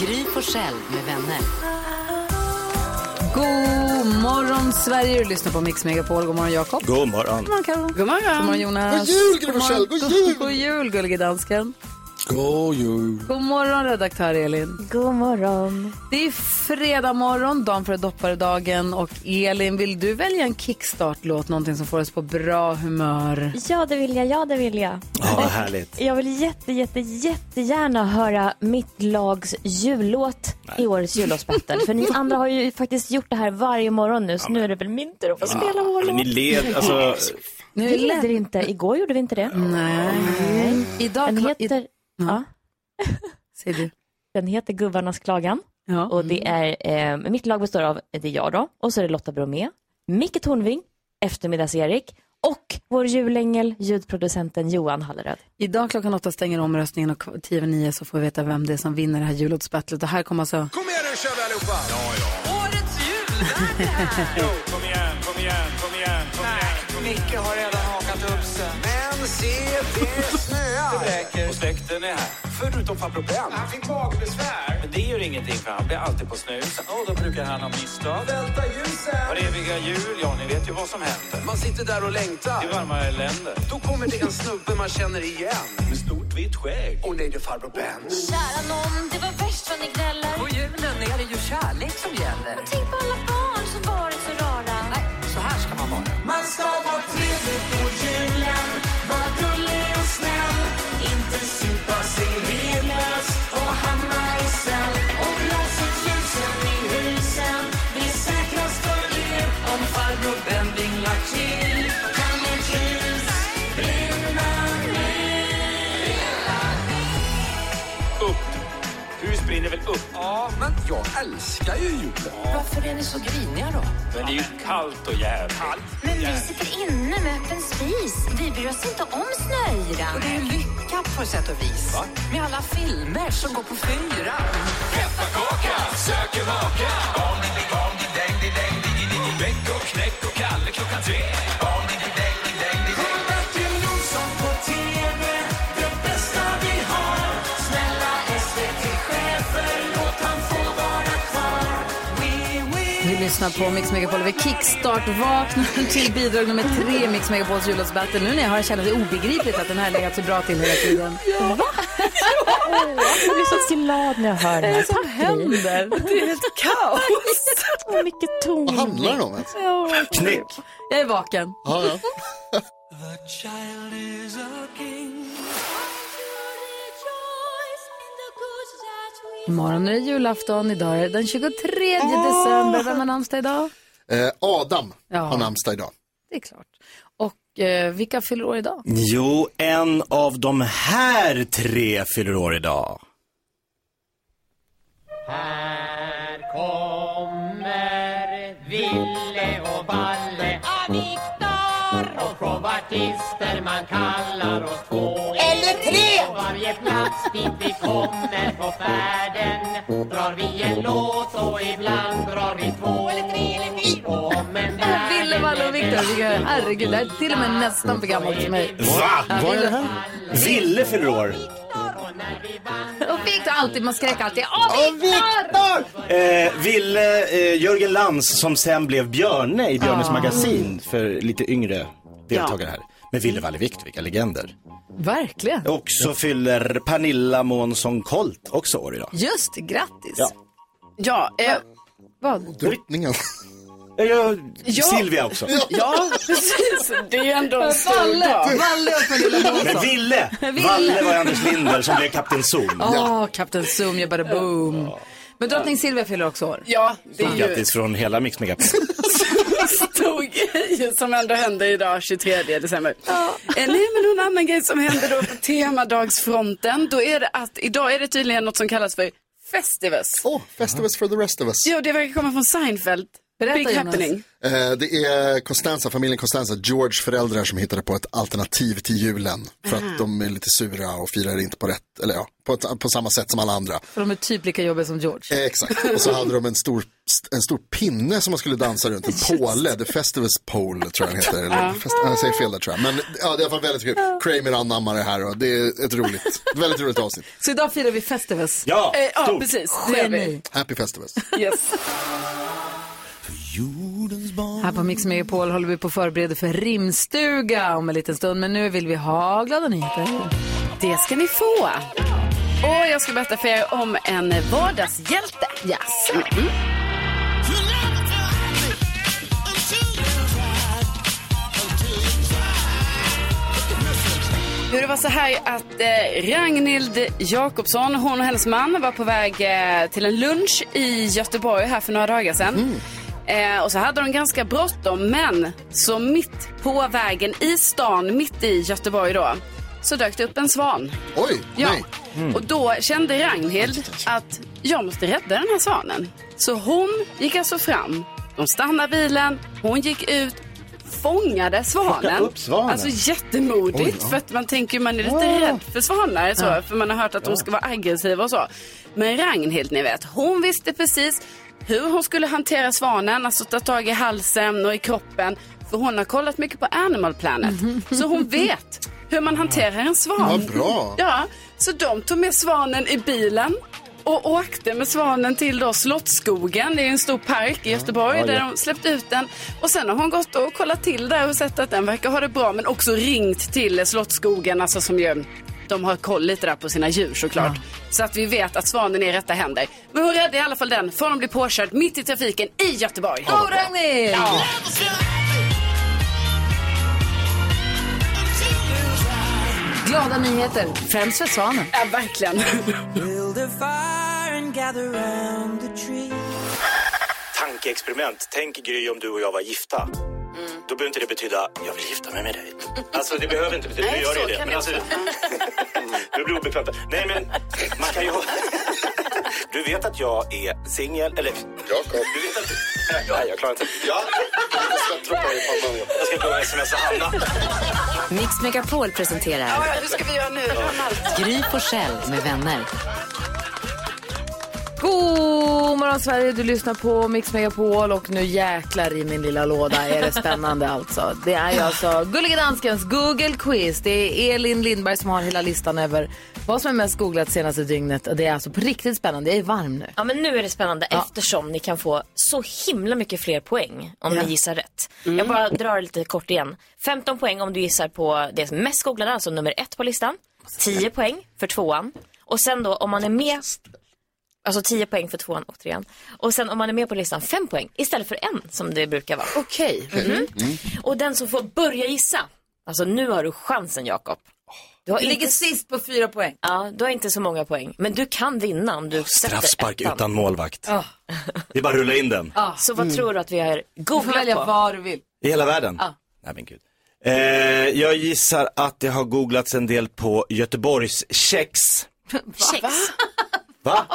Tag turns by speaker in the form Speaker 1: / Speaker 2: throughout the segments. Speaker 1: Gry Forssell med vänner.
Speaker 2: God morgon Sverige, du lyssnar på Mix Megapol. God morgon Jakob.
Speaker 3: God morgon.
Speaker 2: God morgon Carro. God morgon. God morgon Jonas.
Speaker 4: God jul, Gry Forssell. God jul.
Speaker 2: God jul gullige dansken.
Speaker 4: God jul.
Speaker 2: God morgon redaktör Elin.
Speaker 5: God morgon.
Speaker 2: Det är fredag morgon, dagen före dopparedagen och Elin, vill du välja en kickstart-låt, någonting som får oss på bra humör?
Speaker 5: Ja, det vill jag. Ja, det vill jag.
Speaker 3: Ja, vad härligt.
Speaker 5: Jag vill jätte, jätte, jättegärna höra mitt lags jullåt i årets jullåtsbattle. För ni andra har ju faktiskt gjort det här varje morgon nu, så nu är det väl min tur att få spela vår
Speaker 3: Men ni
Speaker 5: låt.
Speaker 3: led, alltså,
Speaker 2: Nu är
Speaker 5: Vi
Speaker 2: det lätt.
Speaker 5: leder inte. Igår gjorde vi inte det.
Speaker 2: Nej. Idag...
Speaker 5: Den
Speaker 2: kva-
Speaker 5: heter, ja,
Speaker 2: Säg du.
Speaker 5: den heter Gubbarnas klagan.
Speaker 2: Ja.
Speaker 5: Och det är, eh, mitt lag består av, det är jag då, och så är det Lotta Bromé, Micke Tornving, Eftermiddags-Erik och vår julängel, ljudproducenten Johan Halleröd.
Speaker 2: Idag klockan åtta stänger omröstningen och kv- tio över nio så får vi veta vem det är som vinner det här jullåtsbattlet. Och här kommer alltså...
Speaker 6: Kom igen nu kör vi allihopa! Ja, ja. Men se, det snöar! Och släkten är här. Förutom farbror Ben. Han fick magbesvär. Men det gör ingenting för han blir alltid på snus. Och då brukar han ha misstag. Välta ljusen! Har eviga jul, ja ni vet ju vad som händer. Man sitter där och längtar. Till varmare länder. Då kommer det en snubbe man känner igen. Med stort vitt skägg. Och nej, det är farbror Ben.
Speaker 7: Kära nån, det var värst vad ni gnäller.
Speaker 8: På julen är det ju kärlek som gäller.
Speaker 7: Tänk på alla barn som varit så rara.
Speaker 8: Nej, så här ska man vara.
Speaker 6: Man ska vara trevlig på julen, var gullig och snäll. Inte supa sig redlös och hamna i cell. Och blås ut ljusen i husen, det är säkrast för er. Om farbror Ben vinglar till kan ert ljus brinna ner. Upp. Hus brinner väl upp? Ja, men jag älskar ju julen.
Speaker 8: Varför är ni så griniga då?
Speaker 6: Men det är ju kallt och jävligt.
Speaker 7: Men vi sitter inne med öppen spis. Vi bryr oss inte om snöyran.
Speaker 8: Det är ju lyckat på sätt och vis. Med alla filmer som går på fyra.
Speaker 2: Vi lyssnar på Mix Megapol. Vi kickstart-vaknar till bidrag nummer tre, Mix Megapols jullåtsbattle. Nu när jag har känner det obegripligt att den här legat så bra till hela tiden.
Speaker 5: Jag blir så glad när jag hör den här.
Speaker 2: Vad händer? Det är helt kaos.
Speaker 5: Så mycket ton.
Speaker 9: Vad handlar det om ens?
Speaker 3: knäck.
Speaker 2: Jag är vaken.
Speaker 9: Ja, ja.
Speaker 2: Imorgon är det julafton. Idag är det den 23 december. Vem har namnsdag idag?
Speaker 9: Eh, Adam
Speaker 2: Ja.
Speaker 9: har namnsdag idag.
Speaker 2: Det är klart. Och eh, vilka fyller år idag?
Speaker 3: Jo, en av de här tre fyller år idag.
Speaker 2: Ville, Valle och Viktor. Vilka- Herregud, det här är till och med nästan för gammalt för mig.
Speaker 3: Va?
Speaker 2: Ja,
Speaker 9: Vad är det
Speaker 2: Ville-
Speaker 9: här?
Speaker 3: Ville fyller år.
Speaker 2: Och Viktor alltid, man skrek alltid Åh Viktor!
Speaker 3: Eh, Ville, eh, Jörgen Lantz som sen blev Björne i Björnes magasin för lite yngre deltagare här. Men Ville Valle Vikt, vilka legender.
Speaker 2: Verkligen.
Speaker 3: Och så fyller Pernilla Månsson Colt också år idag.
Speaker 2: Just det, grattis.
Speaker 3: Ja.
Speaker 10: Ja, eh,
Speaker 2: Vad?
Speaker 9: Drottningen.
Speaker 3: Eh, ja. Silvia också.
Speaker 10: ja, precis. Det är ju ändå en stor dag.
Speaker 2: Valle, Valle och Pernilla
Speaker 3: Men
Speaker 2: Månsson.
Speaker 3: Ville, Valle var Anders Linder som blev Kapten Zoom.
Speaker 2: Åh, Kapten Zoom, jag bara boom. Men drottning Silvia fyller också år.
Speaker 10: Ja, det är ju
Speaker 3: Grattis från hela Mix Megapol.
Speaker 10: en stor grej som ändå hände idag, 23 december. Eh, nej, men någon annan grej som hände då på temadagsfronten, då är det att idag är det tydligen något som kallas för Festivus.
Speaker 9: Oh, Festivus for the rest of us.
Speaker 10: Jo, det verkar komma från Seinfeld.
Speaker 2: Berätta,
Speaker 10: Big
Speaker 2: Jonas.
Speaker 10: happening.
Speaker 9: Eh, Det är Costanza, familjen Costanza, George föräldrar som hittade på ett alternativ till julen. För
Speaker 2: Ah.
Speaker 9: att de är lite sura och firar inte på rätt, eller ja, på, ett, på samma sätt som alla andra.
Speaker 2: För de är typ lika jobbiga som George.
Speaker 9: Eh, Exakt, och så hade de en stor, st- en stor pinne som man skulle dansa runt, en påle, The Festivus Pole tror jag den heter. Eller,
Speaker 2: Ja.
Speaker 9: fest, jag säger fel där tror jag, men ja, det är i alla fall väldigt kul. Kramer anammar det här och det är ett roligt, ett väldigt roligt avsnitt.
Speaker 2: Så idag firar vi Festivus.
Speaker 9: Ja,
Speaker 2: eh, ja
Speaker 9: stort.
Speaker 2: precis. Det gör vi.
Speaker 9: Geni. Happy Festivus.
Speaker 2: Yes. Här på Mix Megapol håller vi på och förbereder för rimstuga om en liten stund. Men nu vill vi ha glada nyheter.
Speaker 10: Det ska ni få. Och jag ska berätta för er om en vardagshjälte. Yes. Mm. Jo, det var så här att eh, Ragnhild Jakobsson, hon och hennes man var på väg eh, till en lunch i Göteborg här för några dagar sedan.
Speaker 3: Mm.
Speaker 10: Eh, och så hade de ganska bråttom, men så mitt på vägen i stan, mitt i Göteborg då, så dök det upp en svan.
Speaker 9: Oj,
Speaker 10: Ja.
Speaker 9: nej.
Speaker 10: Och då kände Ragnhild att jag måste rädda den här svanen. Så hon gick alltså fram, de stannade bilen, hon gick ut, fångade
Speaker 3: Plocka
Speaker 10: svanen.
Speaker 3: upp svanen.
Speaker 10: Alltså jättemodigt,
Speaker 3: Oj, ja.
Speaker 10: för att man tänker man är lite
Speaker 3: Ja.
Speaker 10: rädd för svanar, så,
Speaker 3: Ja.
Speaker 10: för man har hört att de
Speaker 3: Ja.
Speaker 10: ska vara aggressiva och så. Men Ragnhild, ni vet, hon visste precis hur hon skulle hantera svanen, alltså ta tag i halsen och i kroppen. För hon har kollat mycket på Animal Planet,
Speaker 3: Mm-hmm.
Speaker 10: så hon vet hur man hanterar en svan.
Speaker 9: Vad bra.
Speaker 10: Ja, så de tog med svanen i bilen och åkte med svanen till då Slottsskogen. Det är en stor park i Göteborg
Speaker 7: Ja, ja.
Speaker 10: där de släppte ut den. Och sen har hon gått och kollat till där och sett att den verkar ha det bra men också ringt till Slottsskogen, alltså som ju de har koll lite där på sina djur såklart. Så att vi vet att svanen är i rätta händer. Men hon räddade i alla fall den från att bli påkörd mitt i trafiken i Göteborg.
Speaker 2: Go Ragnhild!
Speaker 10: Ja.
Speaker 2: Glada nyheter, främst för svanen.
Speaker 10: Ja, verkligen.
Speaker 3: Tankeexperiment. Tänk Gry om du och jag var gifta. Då behöver inte det betyda jag vill gifta mig med dig. Alltså det behöver inte betyda, nu
Speaker 6: Nej,
Speaker 3: gör det
Speaker 6: så
Speaker 3: ju det.
Speaker 6: kan
Speaker 3: Men
Speaker 6: det
Speaker 3: alltså,
Speaker 6: också.
Speaker 3: du blir obekvämt. Nej men man kan ju... Du vet att jag är singel, eller... Jakob. Du vet att... Nej, jag klarar inte. Ja. Jag ska droppa dig på en gång. Jag ska gå och smsa Hanna.
Speaker 8: Mix Megapol presenterar
Speaker 10: hur ska vi göra nu?
Speaker 8: Gry på Själv med vänner.
Speaker 2: God morgon Sverige, du lyssnar på Mix Megapol och nu jäklar i min lilla låda är det spännande alltså. Det är ju alltså Gullige Danskens Google Quiz. Det är Elin Lindberg som har hela listan över vad som är mest googlat senaste dygnet. Och Det är alltså på riktigt spännande, jag är varm nu.
Speaker 5: Ja men nu är det spännande eftersom ni kan få så himla mycket fler poäng om
Speaker 2: Ja.
Speaker 5: ni gissar rätt.
Speaker 2: Mm.
Speaker 5: Jag bara drar lite kort igen. 15 poäng om du gissar på det mest googlade, alltså nummer ett på listan. 10 poäng för tvåan. Och sen då om man är med, alltså 10 poäng för tvåan och trean. Och sen om man är med på listan 5 poäng istället för en som det brukar vara.
Speaker 2: Okej. Mm.
Speaker 5: Mhm. Och den som får börja gissa, alltså nu har du chansen Jakob. Du
Speaker 2: Du ligger sist på fyra poäng.
Speaker 5: Ja, du har inte så många poäng. Men du kan vinna om du sätter
Speaker 3: Straffspark
Speaker 5: ettan.
Speaker 3: utan målvakt.
Speaker 5: Ja.
Speaker 3: Det är bara att rulla in den.
Speaker 5: Så vad
Speaker 3: Mm.
Speaker 5: tror du att vi har googlat på?
Speaker 2: Ah, Du får välja vad du vill. Ah.
Speaker 3: I hela världen?
Speaker 2: Ja.
Speaker 3: Nej men gud. Eh, jag gissar att det har googlats en del på Göteborgs kex.
Speaker 5: Kex.
Speaker 3: Va?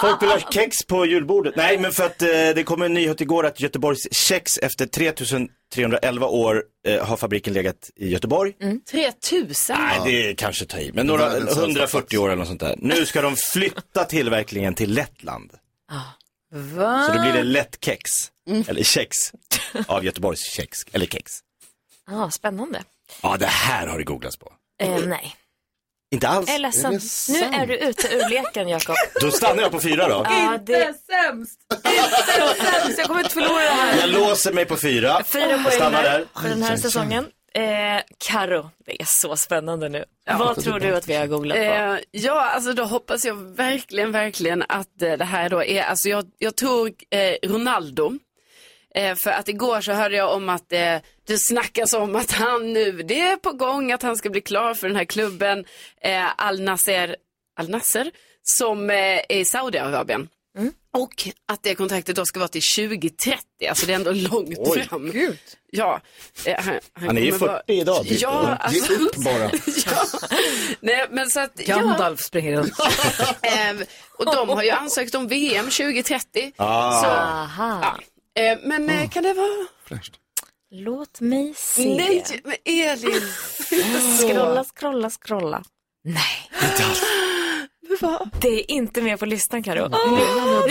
Speaker 3: Folk vill ha kex på julbordet. Nej men för att eh, det kom en nyhet igår att Göteborgs kex efter 3311 år eh, har fabriken legat i Göteborg.
Speaker 5: Mm.
Speaker 10: 3000?
Speaker 3: Nej det är kanske ta i, men
Speaker 10: Det
Speaker 3: några
Speaker 10: var den sämsta
Speaker 3: 140 år eller något sånt där. Nu ska de flytta tillverkningen till Lettland.
Speaker 2: Va?
Speaker 3: Så då
Speaker 5: Ah.
Speaker 3: blir det lättkex.
Speaker 5: Mm.
Speaker 3: Eller kex. Av Göteborgs kex. Eller kex.
Speaker 5: ah, spännande.
Speaker 3: Ja, det här har det googlats på.
Speaker 5: Eh, nej.
Speaker 3: Inte alls.
Speaker 5: Jag är ledsen. nu är du ute ur leken, Jakob.
Speaker 3: Då stannar jag på fyra då.
Speaker 5: Ja, det...
Speaker 2: sämst! Inte sämst! Jag kommer inte förlora det här.
Speaker 3: Jag låser mig på fyra.
Speaker 5: Fyra
Speaker 3: Jag
Speaker 5: poäng
Speaker 3: stannar
Speaker 5: där
Speaker 3: där.
Speaker 5: för den här säsongen. Eh, Karo, det är så spännande nu. Vad
Speaker 10: typ
Speaker 5: tror du att vi har googlat på?
Speaker 10: Eh, ja, alltså då hoppas jag verkligen, verkligen att eh, det här då är, alltså jag, jag tror eh, Ronaldo. Eh, för att igår så hörde jag om att eh, det snackas om att han nu, det är på gång att han ska bli klar för den här klubben eh, Al Nasser, Al Nasser som eh, är i Saudiarabien.
Speaker 5: Mm.
Speaker 10: Och att det kontraktet då ska vara till 2030, alltså det är ändå långt
Speaker 3: Oj.
Speaker 10: fram. Gud. Ja, eh, han,
Speaker 3: Han är ju
Speaker 10: kommer
Speaker 3: 40 idag, typ.
Speaker 10: Ja,
Speaker 3: Ge
Speaker 10: alltså,
Speaker 3: upp bara.
Speaker 10: nej, men så att,
Speaker 2: Gandalf springer runt.
Speaker 10: Ehm, och de har ju ansökt om VM 2030.
Speaker 3: Ah.
Speaker 10: Så, ja. Ehm, men eh, kan det vara...
Speaker 5: Låt mig se.
Speaker 10: Nej, men Elin.
Speaker 5: Scrolla, scrolla, scrolla. Nej. Det är inte med på listan Karo. nu,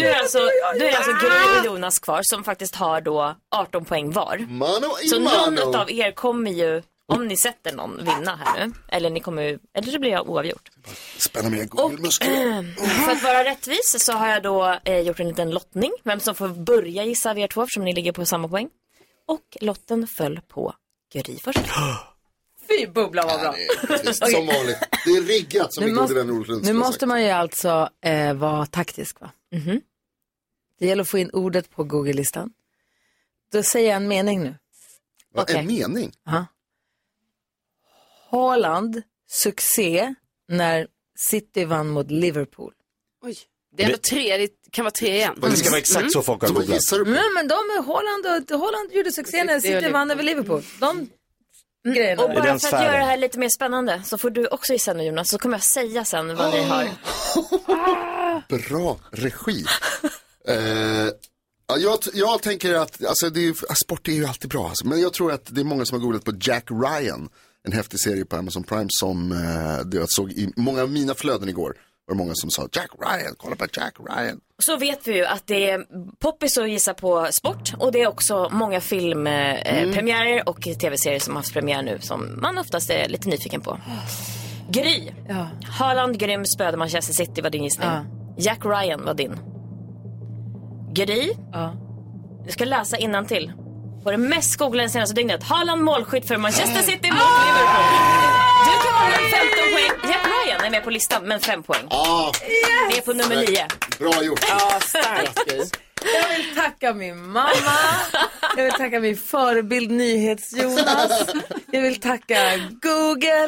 Speaker 5: nu är alltså, nu är alltså Gullig och Jonas kvar som faktiskt har då 18 poäng var.
Speaker 9: Mano i
Speaker 5: Så någon
Speaker 9: mano.
Speaker 5: av er kommer ju, om ni sätter någon, vinna här nu. Eller ni kommer ju- eller så blir jag oavgjort.
Speaker 9: Spänna mig.
Speaker 5: Och för att vara rättvis så har jag då eh, gjort en liten lottning. Vem som får börja gissa av er två eftersom ni ligger på samma poäng. Och lotten föll på Gry först.
Speaker 2: Fy bubblan vad bra.
Speaker 9: Visst, Som vanligt. Det är riggat som
Speaker 2: Nu
Speaker 9: min
Speaker 2: måste-
Speaker 9: gode vän Olof Lundström
Speaker 2: Nu
Speaker 9: har
Speaker 2: måste man ju alltså eh, vara taktisk va? Det gäller att få in ordet på Google-listan. Då säger jag en mening nu.
Speaker 9: Va, en mening?
Speaker 2: Ja. Haaland, succé när City vann mot Liverpool.
Speaker 10: Oj, Mm. det är ändå tre, det kan vara tre igen.
Speaker 3: Det ska vara exakt så folk har googlat.
Speaker 2: Nej, Mm, men de är Holland, och, Holland gjorde succé när
Speaker 5: City och
Speaker 2: City vann över Liverpool. De grejerna.
Speaker 5: Mm. Och
Speaker 2: där.
Speaker 5: bara för att göra det här lite mer spännande så får du också gissa nu Jonas, så kommer jag säga sen vad
Speaker 9: Ah.
Speaker 5: ni har.
Speaker 9: Bra regi. eh, ja, jag, t- jag tänker att, alltså, det är, ju- ja, sport är ju alltid bra. Alltså, men jag tror att det är många som har googlat på Jack Ryan. En häftig serie på Amazon Prime som eh, det jag såg i många av mina flöden igår. var det många som sa Jack Ryan, kolla på Jack Ryan.
Speaker 5: Så vet vi ju att det är poppis att gissa på sport och det är också
Speaker 9: Mm.
Speaker 5: många filmpremiärer och tv-serier som har haft premiär nu som man oftast är lite nyfiken på. Gry, Haaland grym spöade Manchester City var din gissning. Jack Ryan var din. Gry, du ska läsa innantill. På det mest googlade senaste dygnet. Haaland målskytt för Manchester City mot
Speaker 2: Ah!
Speaker 5: Liverpool. Du kan vara med 15 poäng. Jack Ryan är med på listan men 5 poäng.
Speaker 9: Ah,
Speaker 5: Det är på nummer 9.
Speaker 9: Bra gjort.
Speaker 2: Ja, Jag vill tacka min mamma. Jag vill tacka min förebild NyhetsJonas. Jag vill tacka Google.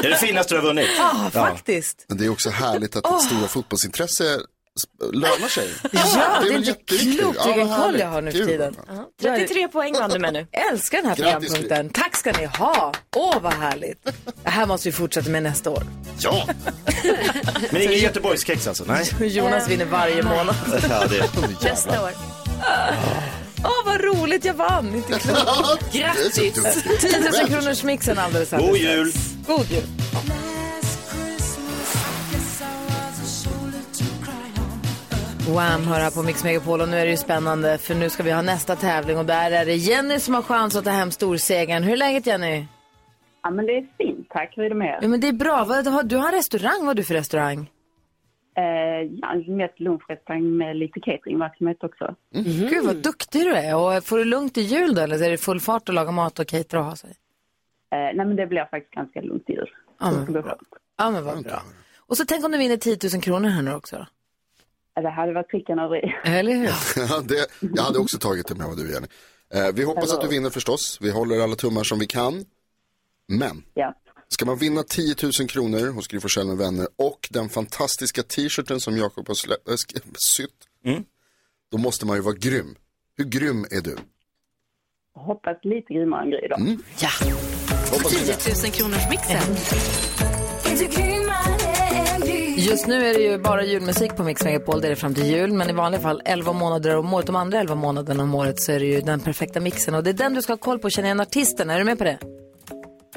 Speaker 9: Det är det finaste du har vunnit.
Speaker 2: Ja, Ah, faktiskt.
Speaker 9: Men det är också härligt att ditt
Speaker 2: Åh.
Speaker 9: stora fotbollsintresse sp- lönar sig.
Speaker 2: Ja, det är
Speaker 9: väl
Speaker 2: inte
Speaker 9: jättekul.
Speaker 2: klokt
Speaker 9: Ja, vad
Speaker 2: vilken koll
Speaker 9: härligt.
Speaker 2: jag har nu för
Speaker 9: Kul.
Speaker 2: tiden.
Speaker 5: 33 poäng vann du med nu.
Speaker 2: Jag älskar den här
Speaker 9: Grattis,
Speaker 2: programpunkten. Tack ska ni ha. Åh, vad härligt. Det här måste vi fortsätta med nästa år.
Speaker 3: Ja. Men ingen Göteborgskex alltså? Nej.
Speaker 2: Jonas vinner varje månad.
Speaker 3: Ja, det
Speaker 5: Nästa år.
Speaker 2: Åh, vad roligt jag vann. Inte klokt.
Speaker 3: Det är så
Speaker 2: Grattis.
Speaker 3: duktigt.
Speaker 2: 10 000 kronors mixen alldeles
Speaker 3: God
Speaker 2: alldeles
Speaker 3: jul.
Speaker 2: strax. God jul. Wham hör här på Mix Megapol och nu är det ju spännande för nu ska vi ha nästa tävling och där är det Jenny som har chans att ta hem storsegern. Hur är läget Jenny?
Speaker 11: Ja, men det är fint. Tack. Hur är det med
Speaker 2: Ja, men det är bra. Vad, har, du har en restaurang, vad har du för restaurang?
Speaker 11: er? Eh, ja, mest lunchrestaurang med lite cateringverksamhet också.
Speaker 2: Mm, Gud vad duktig du är. Och får du lugnt i jul då eller är det full fart att laga mat och catera och ha sig?
Speaker 11: Eh, nej, men det blir faktiskt ganska lugnt i jul.
Speaker 2: Ja, men
Speaker 11: Det ska bli skönt.
Speaker 2: Ja men vad bra. Och så tänk om du vinner 10 000 kronor här nu också då?
Speaker 11: Ja, Det hade varit pricken över i.
Speaker 2: Eller hur?
Speaker 9: Ja, det, jag hade också tagit det med vad du Jenny. Eh, vi hoppas att du vinner förstås. Vi håller alla tummar som vi kan. Men, ska man vinna 10 000 kronor hos Gry Forssell med vänner och den fantastiska t-shirten som Jakob har slä- äh, sk- sytt, då måste man ju vara grym. Hur grym är du?
Speaker 11: Jag Hoppas lite grymmare än Gry idag.
Speaker 2: Ja.
Speaker 12: 10 000 kronors mixen.
Speaker 2: Just nu är det ju bara julmusik på Mix Megapol, det är det fram till jul. Men i vanliga fall 11 månader om året, de andra 11 månaderna om året så är det ju den perfekta mixen. Och det är den du ska ha koll på, känna igen artisten. Är du med på det?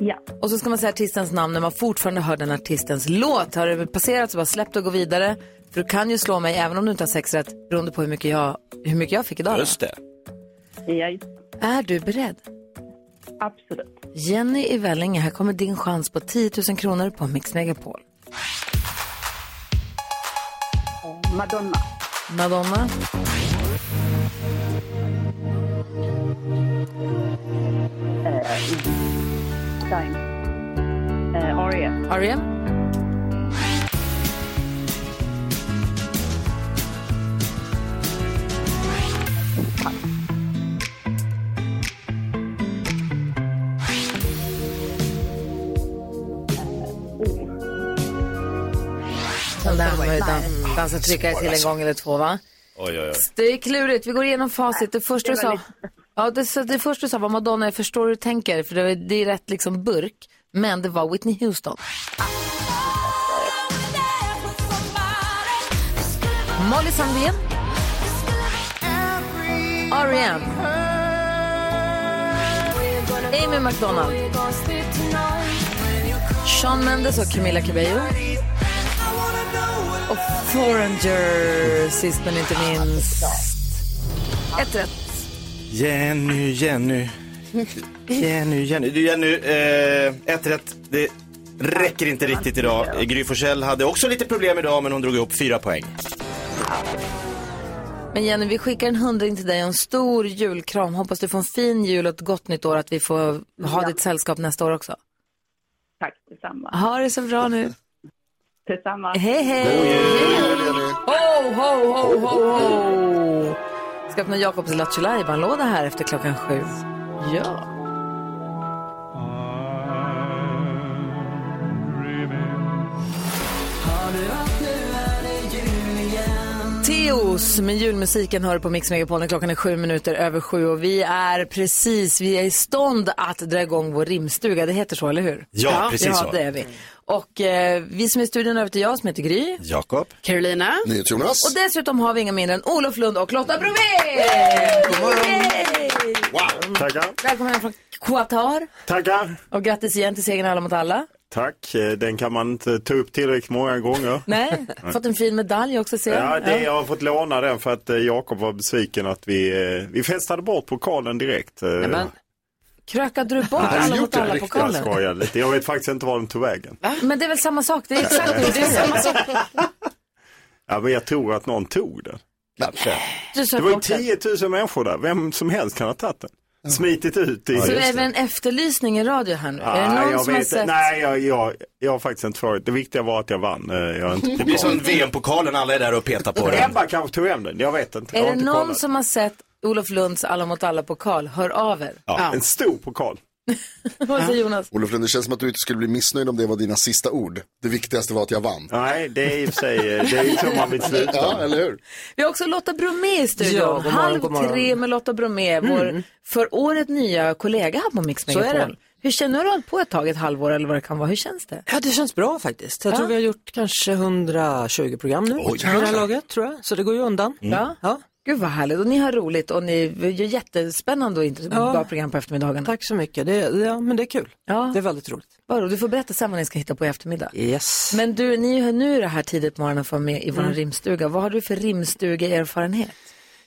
Speaker 11: Ja.
Speaker 2: Och så ska man säga artistens namn när man fortfarande hör den artistens låt. Har det passerat så bara släpp det och gå vidare. För du kan ju slå mig även om du inte har sex rätt, beroende på hur mycket jag, hur mycket jag fick idag. då.
Speaker 3: Just det.
Speaker 11: Ja,
Speaker 2: Är du beredd?
Speaker 11: absolut.
Speaker 2: Jenny i Vellinge, här kommer din chans på 10 000 kronor på Mix Megapol.
Speaker 11: Eh, Madonna.
Speaker 2: Madonna.
Speaker 11: Eh, Dime. Eh, Aria.
Speaker 2: R.E.M.
Speaker 11: oh.
Speaker 2: Den där var ju dan- chans att trycka till en gång eller två, va?
Speaker 3: Oj, oj, oj.
Speaker 2: Det är klurigt. Vi går igenom facit. Det första du
Speaker 11: Det
Speaker 2: sa,
Speaker 11: var
Speaker 2: ja, det, så det första du sa var Madonna, jag förstår hur du tänker, för det, var- det är rätt liksom burk. Men det var Whitney Houston. Molly Sandén. E R.E.M. Amy McDonald. Sean Mendes och Camila Cabello. Och Foreigner, sist men inte minst. Ett rätt.
Speaker 3: Jenny, Jenny. Jenny, Jenny. Du Jenny, eh, ett rätt. Det räcker inte riktigt idag. Gry Forssell hade också lite problem idag men hon drog upp fyra poäng.
Speaker 2: Men Jenny, vi skickar en hundring till dig och en stor julkram. Hoppas du får en fin jul och ett gott nytt år, att vi får ha ditt sällskap nästa år också.
Speaker 11: Tack detsamma.
Speaker 2: Ha det så bra nu.
Speaker 11: Detsamma.
Speaker 2: Hej, hej! Ho, ho, ho, ho, ho! Ska öppna Jakobs Lattjo låda här efter klockan sju. Ja. Teos med julmusiken hör du på Mix Megapol när klockan är sju minuter över sju och vi är precis, vi är i stånd att dra igång vår rimstuga. Det heter så, eller hur?
Speaker 3: Ja, precis
Speaker 2: ja,
Speaker 3: så.
Speaker 2: det är vi. Och eh, vi som är i studion över till jag som heter Gry.
Speaker 3: Jakob.
Speaker 2: Carolina.
Speaker 9: Jonas.
Speaker 2: Och dessutom har vi inga mindre än Olof Lund och Lotta Bromé!
Speaker 13: God morgon.
Speaker 2: Yay!
Speaker 3: Wow. Tackar.
Speaker 2: Välkommen hem från Qatar.
Speaker 13: Tackar.
Speaker 2: Och grattis igen till segern i Alla mot alla.
Speaker 13: Tack, eh, den kan man inte ta upp tillräckligt många gånger.
Speaker 2: Nej, fått en fin medalj också ser
Speaker 13: Mm. Ja,
Speaker 2: jag.
Speaker 13: det, jag har fått låna den för att eh, Jakob var besviken att vi, eh, vi festade bort pokalen direkt. eh.
Speaker 2: Nämen. Krökade du bort
Speaker 13: Nej, jag
Speaker 2: Alla
Speaker 13: gjorde
Speaker 2: mot
Speaker 13: det
Speaker 2: alla
Speaker 13: riktigt, Jag
Speaker 2: pokalen?
Speaker 13: skojade lite. Jag vet faktiskt inte var den tog vägen.
Speaker 2: Men det är väl samma sak? Det är exakt det du säger.
Speaker 13: Ja, men jag tror att någon tog den.
Speaker 2: Du sa
Speaker 13: Det var ju
Speaker 2: bort den.
Speaker 13: 10 000 människor där. Vem som helst kan ha tagit den. Smitit ut i...
Speaker 2: Så det är väl en efterlysning i radio här nu? är det någon
Speaker 13: Ah, jag
Speaker 2: som har
Speaker 13: vet inte.
Speaker 2: sett?
Speaker 13: Nej, jag, jag, jag har faktiskt inte frågat. Det viktiga var att jag vann. Eh, Jag har inte
Speaker 3: Det blir som VM-pokalen, alla är där och petar på den.
Speaker 13: Ebba kanske tog hem den, jag vet inte.
Speaker 2: Är
Speaker 13: jag
Speaker 2: det
Speaker 13: har inte
Speaker 2: någon
Speaker 13: kollat.
Speaker 2: som har sett Olof Lunds Alla mot alla-pokal? Hör av er.
Speaker 9: Ja, En
Speaker 13: stor pokal.
Speaker 2: Vad säger Jonas?
Speaker 9: Olof Lund, det känns som att du inte skulle bli missnöjd om det var dina sista ord. Det viktigaste var att jag vann.
Speaker 13: Nej, det är i och för sig, eh, det är ju så man vill sluta.
Speaker 9: Ja, eller hur?
Speaker 2: Vi har också Lotta Bromé i studion.
Speaker 9: Ja, god morgon,
Speaker 2: Halv
Speaker 9: god morgon.
Speaker 2: tre med Lotta Bromé, vår för året nya kollega här på Mix
Speaker 4: Så är
Speaker 2: Megapol.
Speaker 4: det.
Speaker 2: Hur känner du? Nu har du hållit på ett tag, ett halvår eller vad det kan vara. Hur känns det?
Speaker 4: Ja, det känns bra faktiskt. Jag tror vi har gjort kanske 120 program nu. Oj, det här
Speaker 2: jäklar.
Speaker 4: laget, tror jag. Så det går ju undan.
Speaker 2: Ja. Gud vad härligt. Och ni har roligt och ni gör jättespännande och intressant bra program på eftermiddagen.
Speaker 4: Tack så mycket. Det, ja, men det är kul.
Speaker 2: Ja.
Speaker 4: Det är väldigt roligt.
Speaker 2: Vadå, du får berätta sen vad ni ska hitta på i eftermiddag.
Speaker 4: Yes.
Speaker 2: Men du, ni har nu är det här tidigt på morgonen för att vara med i vår
Speaker 4: Mm.
Speaker 2: rimstuga. Vad har du för rimstugeerfarenhet?